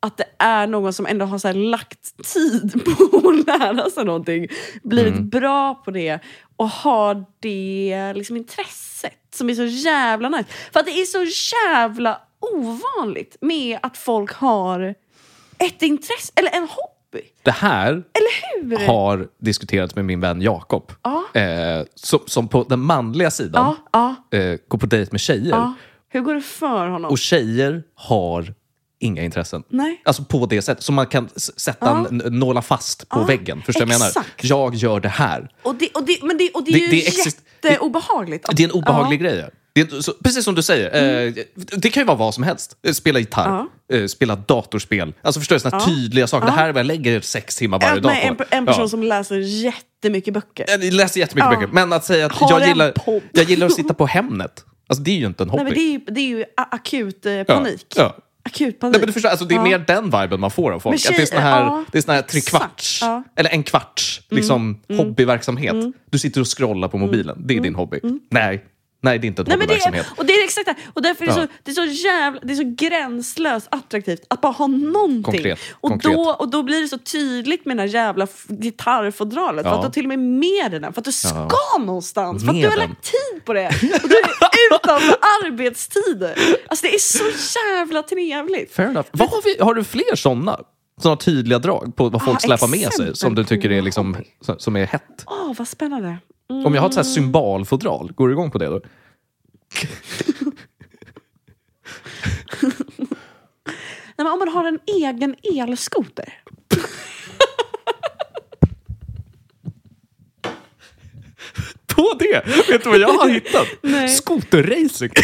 Speaker 2: att det är någon som ändå har så här lagt tid på att lära sig någonting. Blivit bra på det och har det liksom intresset som är så jävla nice. För att det är så jävla ovanligt med att folk har ett intresse, eller en hobby.
Speaker 1: Det här
Speaker 2: Eller hur?
Speaker 1: har diskuterats med min vän Jakob.
Speaker 2: Ja.
Speaker 1: Eh, som, som på den manliga sidan
Speaker 2: Ja, ja,
Speaker 1: eh, går på dejt med tjejer.
Speaker 2: ja. Hur går det för honom?
Speaker 1: Och tjejer har inga intressen.
Speaker 2: Nej.
Speaker 1: Alltså på det sättet. Som man kan s- sätta
Speaker 2: Ja.
Speaker 1: en, nåla fast på
Speaker 2: Ja,
Speaker 1: väggen. Förstår du vad jag menar?
Speaker 2: exakt.
Speaker 1: Jag gör det här.
Speaker 2: Och det, och det, men det, och det,
Speaker 1: Det-
Speaker 2: är ju
Speaker 1: det exist-
Speaker 2: jätteobehagligt.
Speaker 1: Det är en obehaglig
Speaker 2: Ja. Mm.
Speaker 1: grej. Det är, inte- så, precis som du säger, eh, det kan ju vara vad som helst. Eh, Spela gitarr, eh, spela datorspel. Alltså förstår du, såna tydliga saker. Det här är vad jag lägger sex timmar varje
Speaker 2: Äh,
Speaker 1: dag
Speaker 2: nej, en,
Speaker 1: på.
Speaker 2: en person
Speaker 1: Ja.
Speaker 2: som läser jättemycket böcker.
Speaker 1: Jag läser jättemycket
Speaker 2: Ja.
Speaker 1: böcker, men att säga att
Speaker 2: Har
Speaker 1: jag
Speaker 2: en
Speaker 1: gillar,
Speaker 2: podd.
Speaker 1: jag gillar att sitta på Hemnet, alltså, det är ju inte en hobby.
Speaker 2: Nej, men det, är, ju- det är ju a- akut eh,
Speaker 1: Ja,
Speaker 2: panik.
Speaker 1: ja.
Speaker 2: Akut panik.
Speaker 1: Nej, men du förstår, alltså, det är
Speaker 2: Ja.
Speaker 1: mer den viben man får av folk.
Speaker 2: Men
Speaker 1: att det är såna
Speaker 2: tjejer-
Speaker 1: här,
Speaker 2: ja,
Speaker 1: det är såna här tre
Speaker 2: exakt.
Speaker 1: kvarts,
Speaker 2: Ja. Mm.
Speaker 1: eller en kvarts liksom, hobbyverksamhet. Du sitter och scrollar på mobilen, det är din hobby. Nej, nej, det är inte en
Speaker 2: Mm. Nej, men det
Speaker 1: hobbyverksamhet.
Speaker 2: är, och det är exakt det. här. Och därför är det,
Speaker 1: Ja.
Speaker 2: så, det, är så jävla, det är så gränslöst attraktivt att bara ha någonting.
Speaker 1: Konkret,
Speaker 2: och,
Speaker 1: konkret.
Speaker 2: Då, och då blir det så tydligt med den här jävla f- gitarrfodralet. För
Speaker 1: Ja.
Speaker 2: att du har till och med med dig den. För att du ska någonstans. För att
Speaker 1: Med
Speaker 2: du har
Speaker 1: den.
Speaker 2: lagt tid på det. Och du är utanför arbetstider. Alltså det är så jävla trevligt.
Speaker 1: Fair enough. Vad har, vi, har du fler såna? Såna tydliga drag på vad folk
Speaker 2: Ah,
Speaker 1: släpar med sig
Speaker 2: exempel
Speaker 1: som du tycker
Speaker 2: på
Speaker 1: är, liksom, som är hett?
Speaker 2: Åh, vad spännande. Mm.
Speaker 1: Om jag har ett så här symbolfodral, går du igång på det då?
Speaker 2: Nej, men om man har en egen elskoter.
Speaker 1: På det? Vet du vad jag har hittat?
Speaker 2: Nej.
Speaker 1: Skoterracing.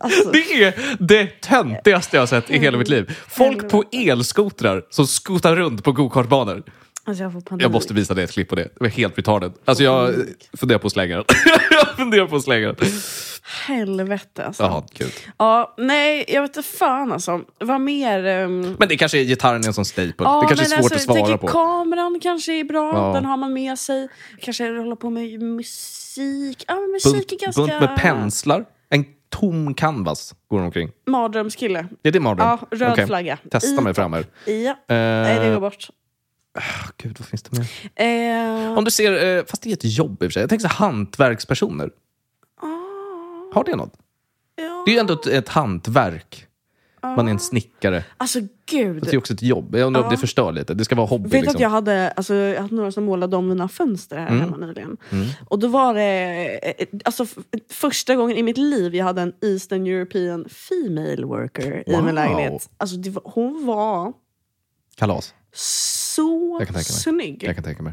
Speaker 2: Alltså,
Speaker 1: Det är det töntigaste jag har sett i hela mitt liv. Folk på elskotrar som skotar runt på gokartbanor.
Speaker 2: alltså jag får panik.
Speaker 1: Jag måste visa dig ett klipp på det. Det var helt retarded. Alltså jag funderar på att slänga den. jag funderar på att slänga den.
Speaker 2: Helvete alltså. Ja.
Speaker 1: Jaha, kul.
Speaker 2: nej, jag vet inte fan alltså. Vad mer? ehm,
Speaker 1: Men det kanske är gitarren är en sån staple. det kanske är
Speaker 2: men
Speaker 1: svårt
Speaker 2: alltså,
Speaker 1: att
Speaker 2: jag
Speaker 1: svara
Speaker 2: tänker
Speaker 1: på.
Speaker 2: Kameran kanske är bra,
Speaker 1: Ja.
Speaker 2: den har man med sig. Kanske hålla på med musik. Ja, men musik är ganska...
Speaker 1: bunt med penslar. En tom canvas går omkring.
Speaker 2: Mardrömskille.
Speaker 1: Det är det mardröm?
Speaker 2: Ja, röd
Speaker 1: Okej.
Speaker 2: flagga.
Speaker 1: Testa
Speaker 2: I
Speaker 1: mig fram här.
Speaker 2: Ja, nej
Speaker 1: Eh,
Speaker 2: det går
Speaker 1: ah,
Speaker 2: bort.
Speaker 1: gud, vad finns det mer?
Speaker 2: Eh,
Speaker 1: Om du ser, eh, fast det är ett jobb i och för sig. Jag tänker så här, hantverkspersoner. Har det något?
Speaker 2: ja,
Speaker 1: Det är ju ändå ett, ett hantverk. Man är en snickare.
Speaker 2: Alltså
Speaker 1: Det är
Speaker 2: gud.
Speaker 1: också ett jobb. Jag undrar om
Speaker 2: Ja.
Speaker 1: det förstör lite. Det ska vara hobby.
Speaker 2: Vet du
Speaker 1: liksom. Mm.
Speaker 2: att jag hade, alltså, jag hade några som målade om mina fönster här hemma nyligen. Och då var det eh, alltså, f- första gången i mitt liv jag hade en Eastern European Female Worker i
Speaker 1: Wow.
Speaker 2: min lägenhet. Alltså, det var, hon var
Speaker 1: Kalas.
Speaker 2: så
Speaker 1: Jag kan tänka mig.
Speaker 2: snygg.
Speaker 1: Jag kan tänka mig.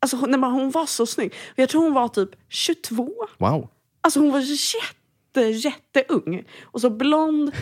Speaker 2: Alltså, hon, nej, men hon var så snygg. Och Jag tror hon var typ 22.
Speaker 1: Wow.
Speaker 2: Alltså hon var jätte, jätteung. Och så blond,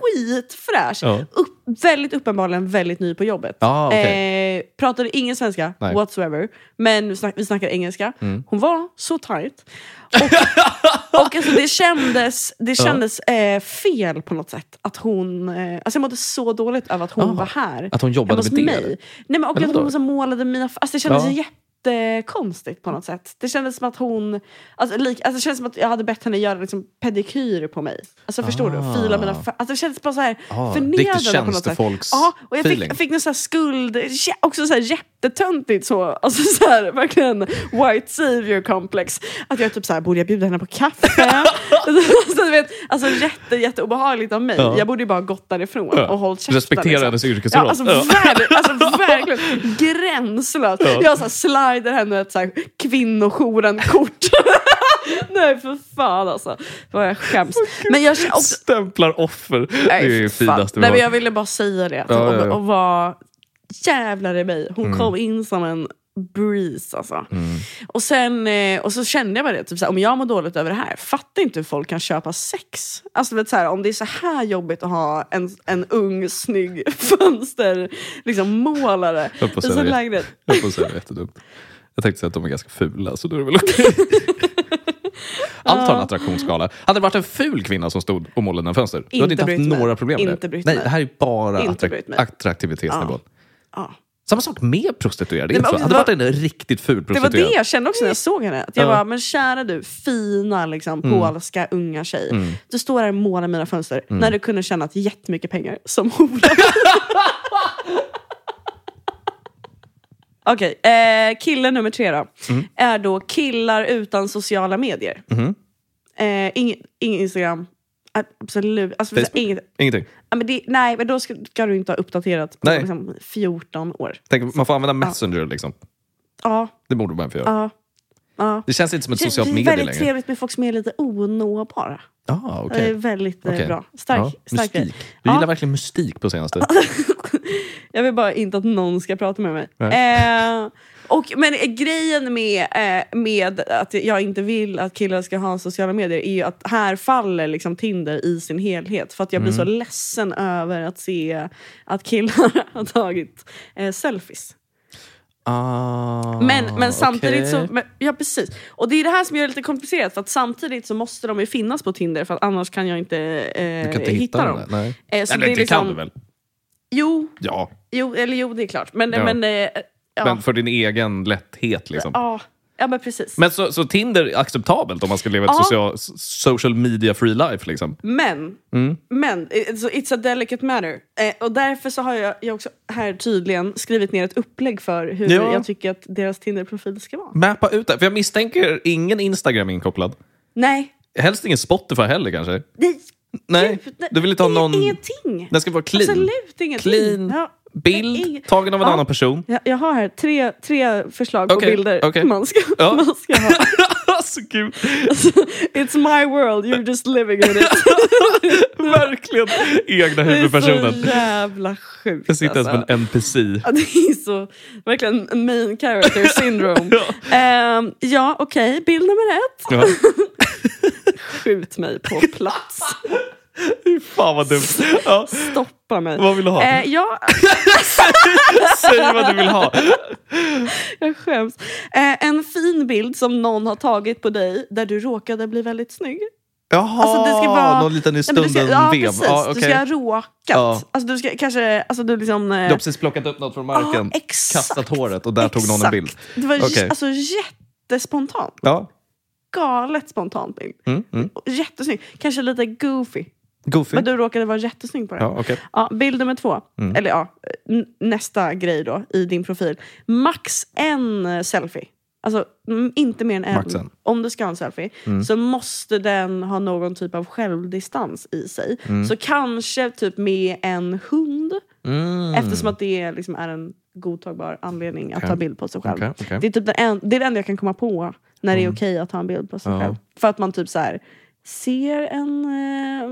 Speaker 2: skitfräsch.
Speaker 1: Ja.
Speaker 2: Upp, väldigt uppenbarligen väldigt ny på jobbet.
Speaker 1: Ja,
Speaker 2: eh, pratade ingen svenska
Speaker 1: Nej. Mm.
Speaker 2: whatsoever. Men vi, snack, vi snackade engelska. Hon var så tight. Och, och alltså det kändes, det kändes eh, fel på något sätt. Att hon, eh, alltså jag mådde så dåligt över att hon
Speaker 1: Ah,
Speaker 2: var här.
Speaker 1: att hon jobbade
Speaker 2: hemma hos
Speaker 1: med det, eller?
Speaker 2: Mig. Nej, men, och
Speaker 1: Eller
Speaker 2: att hon
Speaker 1: vadå?
Speaker 2: så målade mina... Alltså det kändes
Speaker 1: Ja.
Speaker 2: jättekonstigt på något sätt. Det kändes som att hon... Alltså, lik, alltså det kändes som att jag hade bett henne göra liksom, pedikyr på mig. Alltså förstår
Speaker 1: Ah.
Speaker 2: du? Fila mina... fö- Alltså det kändes bara så här
Speaker 1: Ah, riktigt
Speaker 2: förnedrande på något sätt.
Speaker 1: tjänstefolks
Speaker 2: Ja, och jag fick,
Speaker 1: feeling.
Speaker 2: jag fick någon så här skuld... jä- Också så här jättetöntigt så. Alltså så här verkligen white savior complex. Att jag typ så här, borde jag bjuda henne på kaffe? alltså, du vet, alltså jätte, jätteobehagligt av mig.
Speaker 1: Ja.
Speaker 2: Jag borde ju bara gått därifrån
Speaker 1: Ja.
Speaker 2: och hållit käften.
Speaker 1: Respektera
Speaker 2: liksom.
Speaker 1: hennes yrkesroll.
Speaker 2: Ja, alltså,
Speaker 1: Ja.
Speaker 2: Ver- alltså verkligen gränslöst. Jag så här slider henne ett så här kvinnojouren-kort. Nej för fan alltså. Vad jag skäms. men jag och,
Speaker 1: Stämplar offer.
Speaker 2: nej,
Speaker 1: det är det
Speaker 2: för fan.
Speaker 1: finaste vi
Speaker 2: Nej, men
Speaker 1: har.
Speaker 2: Jag ville bara säga det. Typ,
Speaker 1: Ja, ja,
Speaker 2: och,
Speaker 1: Mm. ja.
Speaker 2: och var jävlar i mig. Hon kom in som en breeze alltså.
Speaker 1: Mm.
Speaker 2: Och, sen, eh, och så kände jag bara det, typ såhär, om jag mår dåligt över det här, fattar inte hur folk kan köpa sex. Alltså, vet, såhär, om det är så här jobbigt att ha en, en ung, snygg fönster, liksom, målare
Speaker 1: Jag höll på
Speaker 2: i
Speaker 1: att säga
Speaker 2: sin
Speaker 1: det.
Speaker 2: lägenhet.
Speaker 1: Jag får säga det är jättedumt. Jag tänkte säga att de är ganska fula, så då är det väl okej. Allt har en attraktionsskala. Hade det varit en ful kvinna som stod och målade en fönster, du hade inte
Speaker 2: Inte
Speaker 1: haft
Speaker 2: brytt mig.
Speaker 1: några problem med
Speaker 2: Inte
Speaker 1: det.
Speaker 2: brytt
Speaker 1: Nej,
Speaker 2: mig.
Speaker 1: det här är bara
Speaker 2: Inte
Speaker 1: attrak-
Speaker 2: brytt mig.
Speaker 1: attraktivitetsnivån.
Speaker 2: Ja.
Speaker 1: Samma sak med prostituerade.
Speaker 2: Nej,
Speaker 1: inte
Speaker 2: men
Speaker 1: så.
Speaker 2: det
Speaker 1: Hade det
Speaker 2: var-
Speaker 1: varit en riktigt ful
Speaker 2: Det var
Speaker 1: prostituerad,
Speaker 2: det jag kände också när jag såg henne. Att jag
Speaker 1: Ja. Mm.
Speaker 2: bara, men kära du, fina liksom, polska unga tjej. Du står här och målar mina fönster
Speaker 1: Mm.
Speaker 2: när du kunde tjänat jättemycket pengar som hora. Okej, eh, kille nummer tre då.
Speaker 1: Mm.
Speaker 2: Är då killar utan sociala medier.
Speaker 1: Mm-hmm.
Speaker 2: Eh, ingen, ingen Instagram. Absolut. Alltså,
Speaker 1: Facebook?
Speaker 2: inget,
Speaker 1: Ingenting.
Speaker 2: ja, men det, nej, men då ska, ska du inte ha uppdaterat på
Speaker 1: Nej.
Speaker 2: liksom, 14 år.
Speaker 1: Tänk, man får använda Messenger liksom.
Speaker 2: Ja,
Speaker 1: Det borde man få göra.
Speaker 2: ja, ja.
Speaker 1: Det känns inte som ett
Speaker 2: Det
Speaker 1: socialt
Speaker 2: det är
Speaker 1: medie
Speaker 2: väldigt
Speaker 1: längre.
Speaker 2: trevligt med folk som är lite onåbara.
Speaker 1: Ah,
Speaker 2: Det
Speaker 1: okay.
Speaker 2: är väldigt eh, bra. Stark, stark grej.
Speaker 1: mystik. Du
Speaker 2: Ja.
Speaker 1: gillar verkligen mystik på senaste.
Speaker 2: Jag vill bara inte att någon ska prata med mig. Eh, och, men eh, grejen med, eh, med att jag inte vill att killar ska ha sociala medier är ju att här faller liksom Tinder i sin helhet. För att jag blir
Speaker 1: Mm.
Speaker 2: så ledsen över att se att killar har tagit eh, selfies.
Speaker 1: Ah,
Speaker 2: Men, men samtidigt
Speaker 1: okej.
Speaker 2: så... Men, ja, precis. Och det är det här som gör det lite komplicerat. För att samtidigt så måste de ju finnas på Tinder för att annars kan jag inte, eh,
Speaker 1: Du kan inte hitta, dem. där, Nej.
Speaker 2: Eh, så
Speaker 1: Eller
Speaker 2: det är
Speaker 1: det
Speaker 2: liksom,
Speaker 1: kan du väl?
Speaker 2: Jo,
Speaker 1: Ja,
Speaker 2: jo, eller jo, det är klart. Men...
Speaker 1: Ja.
Speaker 2: men eh, ja.
Speaker 1: men för din egen lätthet liksom.
Speaker 2: ja, ja, men precis. Men,
Speaker 1: Men så, så Tinder är acceptabelt om man ska leva ett
Speaker 2: Ja.
Speaker 1: social, social media free life liksom?
Speaker 2: men, it's, it's a delicate matter. Eh, och därför så har jag, jag också här tydligen skrivit ner ett upplägg för hur
Speaker 1: Ja.
Speaker 2: jag tycker att deras Tinder-profil ska vara.
Speaker 1: Mappa ut det, för jag misstänker ingen Instagram inkopplad.
Speaker 2: Nej,
Speaker 1: Helst ingen Spotify heller kanske?
Speaker 2: nej.
Speaker 1: Nej,
Speaker 2: nej,
Speaker 1: du vill inte ha någon...
Speaker 2: Ingenting.
Speaker 1: Den ska vara clean.
Speaker 2: Absolut ingenting.
Speaker 1: Clean
Speaker 2: Ja, nej,
Speaker 1: Bild
Speaker 2: ing-
Speaker 1: tagen av en
Speaker 2: Ja.
Speaker 1: annan person.
Speaker 2: Jag, jag har här tre, tre förslag på
Speaker 1: Okej,
Speaker 2: bilder
Speaker 1: okej.
Speaker 2: man, ska,
Speaker 1: Ja.
Speaker 2: man ska ha.
Speaker 1: så kul!
Speaker 2: It's my world, you're just living in it.
Speaker 1: Verkligen egna
Speaker 2: Det är
Speaker 1: huvudpersonen.
Speaker 2: så jävla sjukt.
Speaker 1: Jag sitter ens
Speaker 2: alltså.
Speaker 1: som en NPC.
Speaker 2: Ja, det är så, verkligen en main character syndrome. Ehm, ja, okej. Bild nummer ett.
Speaker 1: Ja.
Speaker 2: Skjut mig på plats.
Speaker 1: Fan vad dumt. Ja.
Speaker 2: Stoppa mig.
Speaker 1: Vad vill du ha?
Speaker 2: Eh, ja,
Speaker 1: Säg vad du vill ha.
Speaker 2: jag skäms. Eh, en fin bild som någon har tagit på dig där du råkade bli väldigt snygg.
Speaker 1: Jaha,
Speaker 2: Alltså, det ska vara-
Speaker 1: någon liten i
Speaker 2: Nej, men du
Speaker 1: stunden
Speaker 2: ska, ja,
Speaker 1: vev.
Speaker 2: precis.
Speaker 1: Ja,
Speaker 2: Du
Speaker 1: okej.
Speaker 2: ska ha råkat.
Speaker 1: Ja.
Speaker 2: Alltså, du ska kanske... Alltså, du liksom, eh,
Speaker 1: Du har precis plockat upp något från marken,
Speaker 2: Ja, exakt.
Speaker 1: kastat håret och där tog någon en bild.
Speaker 2: Exakt. Det var j-
Speaker 1: Okej.
Speaker 2: alltså, jättespontant.
Speaker 1: Ja.
Speaker 2: Galet spontant bild.
Speaker 1: Mm, mm.
Speaker 2: Jättesnygg. Kanske lite goofy.
Speaker 1: Goofy.
Speaker 2: Men du råkade vara jättesnygg på det.
Speaker 1: Ja, okej.
Speaker 2: Ja, bild nummer två.
Speaker 1: Mm.
Speaker 2: Eller ja, n- nästa grej då i din profil. Max en eh, selfie. Alltså mm, inte mer än en.
Speaker 1: Max en. Mm.
Speaker 2: Om du ska ha en selfie så måste den ha någon typ av självdistans i sig.
Speaker 1: Mm.
Speaker 2: Så kanske typ med en hund. Mm.
Speaker 1: Mm.
Speaker 2: Eftersom att det liksom är en godtagbar anledning att
Speaker 1: Okej.
Speaker 2: ta bild på sig själv.
Speaker 1: Okej, okej. Mm.
Speaker 2: Det, är typ den en, det är det enda jag kan komma på när det är okej att ta en bild på sig
Speaker 1: Ja.
Speaker 2: själv. För att man typ så här ser en eh,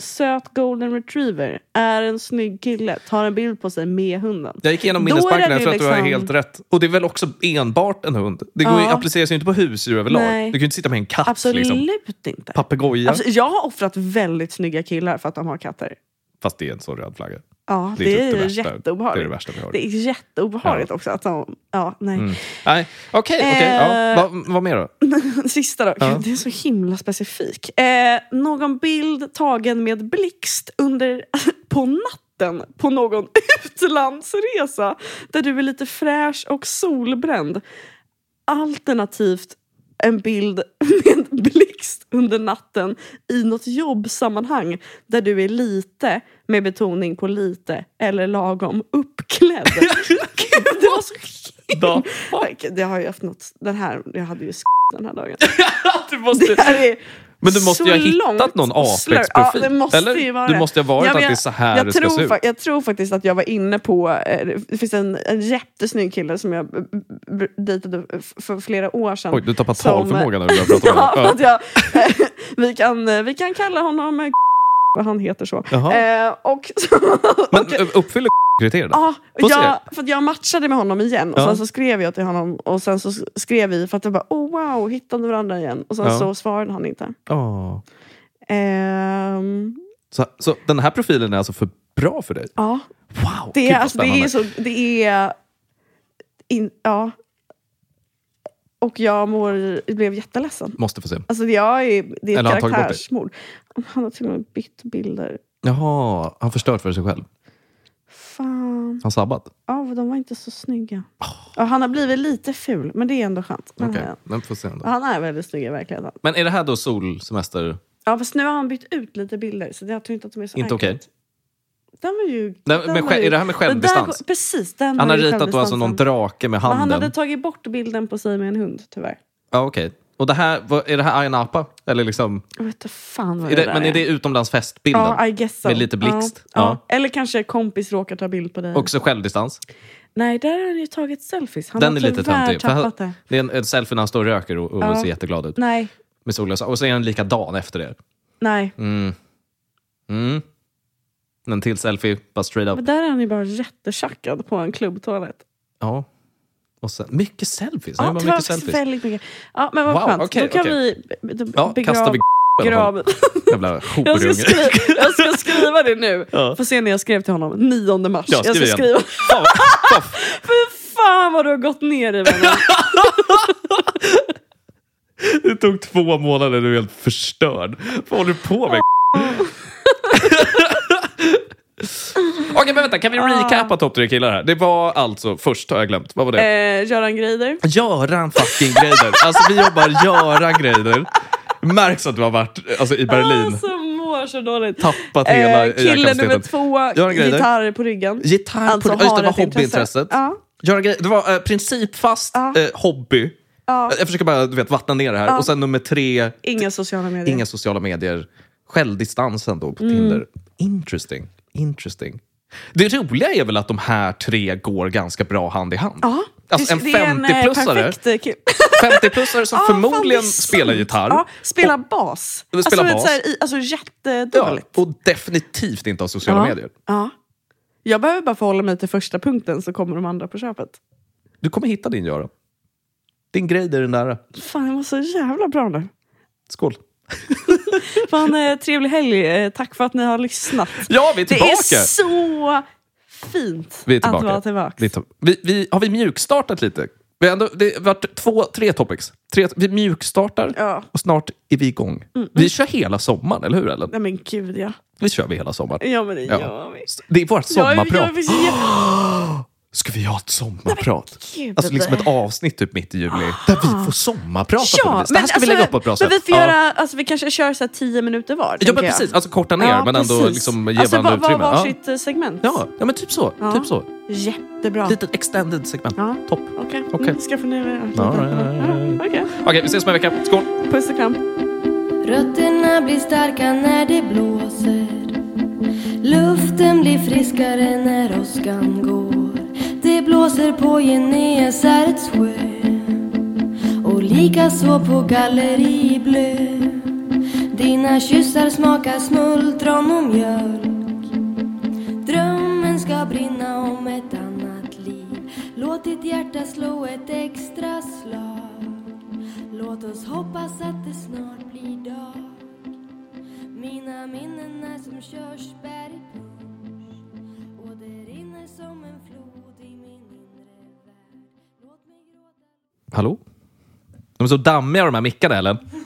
Speaker 2: söt golden retriever, är en snygg kille, tar en bild på sig med hunden.
Speaker 1: Jag gick igenom
Speaker 2: Då är
Speaker 1: minnesbanken,
Speaker 2: det
Speaker 1: jag tror att du har
Speaker 2: liksom-
Speaker 1: helt rätt. Och det är väl också enbart en hund? Det går ju,
Speaker 2: Ja.
Speaker 1: appliceras ju inte på husdjur överlag.
Speaker 2: Nej.
Speaker 1: Du kan ju inte sitta med en katt.
Speaker 2: Absolut
Speaker 1: Liksom.
Speaker 2: inte.
Speaker 1: Papegoja.
Speaker 2: Absolut, jag har offrat väldigt snygga killar för att de har katter.
Speaker 1: Fast det är en sån röd flagga.
Speaker 2: Ja, det,
Speaker 1: Det är typ
Speaker 2: är,
Speaker 1: det värsta. Det är det
Speaker 2: jätteobehagligt.
Speaker 1: värsta Mm. vi har.
Speaker 2: Det är jätteobehagligt också att de... Ja, nej.
Speaker 1: Nej, okej. okej, ja.
Speaker 2: Eh.
Speaker 1: Va- Vad mer då?
Speaker 2: Sista då.
Speaker 1: Ja.
Speaker 2: Gud, det är så himla specifik. Eh, någon bild tagen med blixt under, på natten på någon utlandsresa där du är lite fräsch och solbränd. Alternativt en bild med blixt under natten i något jobbsammanhang där du är lite, med betoning på lite, eller lagom uppklädd. Gud, det var så
Speaker 1: Då.
Speaker 2: Tack, Det har ju haft något. Den här, jag hade ju s- den här dagen.
Speaker 1: du måste,
Speaker 2: Det här är
Speaker 1: men du måste
Speaker 2: så
Speaker 1: ju ha hittat
Speaker 2: långt
Speaker 1: någon
Speaker 2: och slör.
Speaker 1: Apex-profil.
Speaker 2: Ja, det måste
Speaker 1: eller?
Speaker 2: ju vara
Speaker 1: du
Speaker 2: det.
Speaker 1: måste ju ha varit
Speaker 2: Ja, men
Speaker 1: att det är
Speaker 2: jag-
Speaker 1: så här det
Speaker 2: jag,
Speaker 1: ska se
Speaker 2: tror,
Speaker 1: ut.
Speaker 2: fa- jag tror faktiskt att jag var inne på, eh, det finns en, en jättesnygg kille som jag b- b- dejtade f- för flera år sedan.
Speaker 1: Oj, du tappar
Speaker 2: som-
Speaker 1: talförmågan när du börjar prata
Speaker 2: Ja,
Speaker 1: om
Speaker 2: för
Speaker 1: det.
Speaker 2: att jag, vi, kan, eh, vi kan kalla honom eh, och han heter så.
Speaker 1: Jaha.
Speaker 2: Eh, och
Speaker 1: Ja. Men ö, uppfyller kriterierna?
Speaker 2: Ja,
Speaker 1: Får se.
Speaker 2: jag, för att jag matchade med honom igen och
Speaker 1: Ja.
Speaker 2: sen så skrev jag till honom och sen så skrev vi för att jag bara oh wow, hittade varandra igen. Och sen
Speaker 1: Ja.
Speaker 2: så svarade han inte.
Speaker 1: Åh.
Speaker 2: Ehm,
Speaker 1: Så, så den här profilen är alltså för bra för dig?
Speaker 2: ja,
Speaker 1: Wow,
Speaker 2: det
Speaker 1: gud,
Speaker 2: är,
Speaker 1: vad
Speaker 2: alltså, det är
Speaker 1: spännande.
Speaker 2: så, det är... In, ja. Och jag mår, blev jätteledsen.
Speaker 1: Måste få se.
Speaker 2: Alltså jag är, det är
Speaker 1: Eller har
Speaker 2: ett
Speaker 1: han tagit bort dig?
Speaker 2: karaktärsmord. Han har till och med bytt bilder.
Speaker 1: Jaha, han förstört för sig själv.
Speaker 2: Fan.
Speaker 1: Han sabbat.
Speaker 2: Ja, de var inte så snygga. Ja, han har blivit lite ful, men det är ändå skönt. Men
Speaker 1: Oh. Okej,
Speaker 2: han-
Speaker 1: men får se ändå.
Speaker 2: Han är väldigt snygg i verkligheten.
Speaker 1: Men är det här då solsemester?
Speaker 2: Ja, fast nu har han bytt ut lite bilder, så jag tror inte att de är så
Speaker 1: Inte okej?
Speaker 2: accurate. Den var ju...
Speaker 1: Nej,
Speaker 2: den
Speaker 1: men
Speaker 2: var
Speaker 1: själv-
Speaker 2: ju-
Speaker 1: är det här med
Speaker 2: där
Speaker 1: självdistans?
Speaker 2: går- precis, den
Speaker 1: Han
Speaker 2: var
Speaker 1: har
Speaker 2: ju
Speaker 1: ritat då alltså någon
Speaker 2: självdistansen.
Speaker 1: drake med
Speaker 2: Men Han
Speaker 1: handen.
Speaker 2: hade tagit bort bilden på sig med en hund, tyvärr.
Speaker 1: Ja, okej. Och det här, vad, är det här Ayia Napa? Eller liksom,
Speaker 2: Jag vet inte fan vad
Speaker 1: är
Speaker 2: det,
Speaker 1: det, men är det utomlandsfestbilden?
Speaker 2: Ja, I guess so.
Speaker 1: Med lite blixt?
Speaker 2: Ja, ja.
Speaker 1: Ja.
Speaker 2: Eller kanske kompis råkar ta bild på dig.
Speaker 1: Också självdistans?
Speaker 2: Nej, där har han ju tagit selfies. Han
Speaker 1: Den
Speaker 2: har
Speaker 1: är lite
Speaker 2: tyvärr
Speaker 1: töntig. för han-
Speaker 2: tappat det.
Speaker 1: Det är en, en selfie när han står och röker och, och
Speaker 2: Ja.
Speaker 1: ser jätteglad ut.
Speaker 2: Nej,
Speaker 1: Med solglasögon. Och så är han likadan efter det.
Speaker 2: nej.
Speaker 1: Mm. Mm. En till selfie, bara straight up.
Speaker 2: Men där är han ju bara jättechackad på en klubbtoalett.
Speaker 1: Ja. Och sen, mycket selfies. Han
Speaker 2: Ja,
Speaker 1: gör bara
Speaker 2: tyvärr
Speaker 1: mycket
Speaker 2: också
Speaker 1: selfies.
Speaker 2: väldigt mycket. Ja, men vad
Speaker 1: Wow,
Speaker 2: skönt.
Speaker 1: okej,
Speaker 2: Då kan
Speaker 1: okej.
Speaker 2: vi be-
Speaker 1: Ja,
Speaker 2: begrava-
Speaker 1: kastar vi i alla fall.
Speaker 2: begrava...
Speaker 1: Jävla
Speaker 2: Jag ska,
Speaker 1: hoperunge.
Speaker 2: skriva, jag ska skriva det nu.
Speaker 1: Ja.
Speaker 2: Får se när jag skrev till honom. 9 mars.
Speaker 1: Ja,
Speaker 2: jag
Speaker 1: skriv
Speaker 2: ska
Speaker 1: igen.
Speaker 2: skriva.
Speaker 1: Fan, vad-
Speaker 2: Fy fan vad du har gått ner i vännen.
Speaker 1: Det tog två månader du är helt förstörd. Vad håller du på med? Okej, men vänta. Kan vi recapa topp tre killar här? Det var alltså, först har jag glömt, vad var det?
Speaker 2: Eh, Göran Greider.
Speaker 1: Göran fucking Greider. Alltså vi jobbar Göran Greider. Märks att du har varit alltså, i Berlin.
Speaker 2: Alltså mår så dåligt.
Speaker 1: Tappat hela
Speaker 2: Eh, kille nummer
Speaker 1: hjärnkapaciteten.
Speaker 2: två,
Speaker 1: Göran Greider.
Speaker 2: gitarr på ryggen.
Speaker 1: Gitarr på-
Speaker 2: alltså,
Speaker 1: ja, just det,
Speaker 2: har
Speaker 1: det var
Speaker 2: ett intresse.
Speaker 1: hobbyintresset.
Speaker 2: Ja.
Speaker 1: Göran Greider. Det var eh, principfast
Speaker 2: Ja.
Speaker 1: eh, hobby.
Speaker 2: Ja.
Speaker 1: Jag försöker bara du vet, vattna ner det här. Och sen nummer tre,
Speaker 2: Inga sociala medier.
Speaker 1: Inga sociala medier. Självdistansen då på
Speaker 2: Mm.
Speaker 1: Tinder. Interesting. Interesting. Det roliga är väl att de här tre går ganska bra hand i hand.
Speaker 2: Ja.
Speaker 1: Alltså en
Speaker 2: Det är en, eh,
Speaker 1: 50-plussare
Speaker 2: perfekt, eh, kille.
Speaker 1: 50-plussare som
Speaker 2: Ja, fan, det är
Speaker 1: förmodligen
Speaker 2: sant.
Speaker 1: spelar gitarr.
Speaker 2: Ja, spelar bas.
Speaker 1: Spelar
Speaker 2: alltså, vet,
Speaker 1: bas.
Speaker 2: Så här, i, alltså
Speaker 1: Ja,
Speaker 2: jättedåligt.
Speaker 1: och definitivt inte har sociala
Speaker 2: Ja.
Speaker 1: medier.
Speaker 2: Ja. Jag behöver bara förhålla mig till första punkten så kommer de andra på köpet.
Speaker 1: Du kommer hitta din Göran. Din grej där är nära.
Speaker 2: Fan, jag mår så jävla bra nu.
Speaker 1: Skål.
Speaker 2: Fan, eh, trevlig helg. Eh, tack för att ni har lyssnat.
Speaker 1: Ja, vi är
Speaker 2: Det
Speaker 1: tillbaka!
Speaker 2: är så fint
Speaker 1: Vi är
Speaker 2: att
Speaker 1: tillbaka.
Speaker 2: vara tillbaka.
Speaker 1: Vi, tar- vi, vi, har vi mjukstartat lite? Vi har ändå, det har varit två, tre topics. Tre, vi mjukstartar
Speaker 2: Ja.
Speaker 1: och snart är vi igång. Vi kör hela sommaren, eller hur Ellen?
Speaker 2: Nej men gud ja.
Speaker 1: Vi kör vi hela sommaren.
Speaker 2: Ja men det
Speaker 1: Ja.
Speaker 2: gör vi.
Speaker 1: Det är vårt
Speaker 2: Jag är-
Speaker 1: sommarprat.
Speaker 2: jag är så jä-
Speaker 1: Ska vi ha ett sommarprat?
Speaker 2: gud.
Speaker 1: Alltså liksom ett avsnitt typ mitt i juli där vi får sommarprata på något vis. Det här ska vi
Speaker 2: alltså,
Speaker 1: lägga upp på ett bra
Speaker 2: men
Speaker 1: sätt.
Speaker 2: Vi, får
Speaker 1: Ja.
Speaker 2: göra, alltså, vi kanske kör så här tio minuter var.
Speaker 1: Ja
Speaker 2: tänker
Speaker 1: men
Speaker 2: jag.
Speaker 1: precis, alltså korta ner
Speaker 2: Ja,
Speaker 1: men ändå
Speaker 2: precis.
Speaker 1: liksom ge
Speaker 2: alltså,
Speaker 1: varandra
Speaker 2: var,
Speaker 1: utrymme.
Speaker 2: var,
Speaker 1: Ja.
Speaker 2: varsitt eh, segment.
Speaker 1: Ja, ja men typ så.
Speaker 2: Ja.
Speaker 1: Typ så.
Speaker 2: Jättebra.
Speaker 1: Litet extended segment.
Speaker 2: Ja.
Speaker 1: Topp.
Speaker 2: Okej,
Speaker 1: Okej.
Speaker 2: mm, skaffa ner det.
Speaker 1: Ja, ja, ja,
Speaker 2: Ja,
Speaker 1: ja.
Speaker 2: Okej,
Speaker 1: Okej, vi ses om en vecka. Skål!
Speaker 2: puss och kram.
Speaker 3: Rötterna blir starka när det blåser. Luften blir friskare när åskan går. Det blåser på Genesarets sjö. Och likaså på Galleri Blö. Dina kyssar smakar smultron och mjölk. Drömmen ska brinna om ett annat liv. Låt ditt hjärta slå ett extra slag. Låt oss hoppas att det snart blir dag Mina minnen är som körsbär i punsch Och det rinner som en flod i min inre värld Låt mig gråta
Speaker 1: Hallå? De är så dammiga de här mickarna Ellen.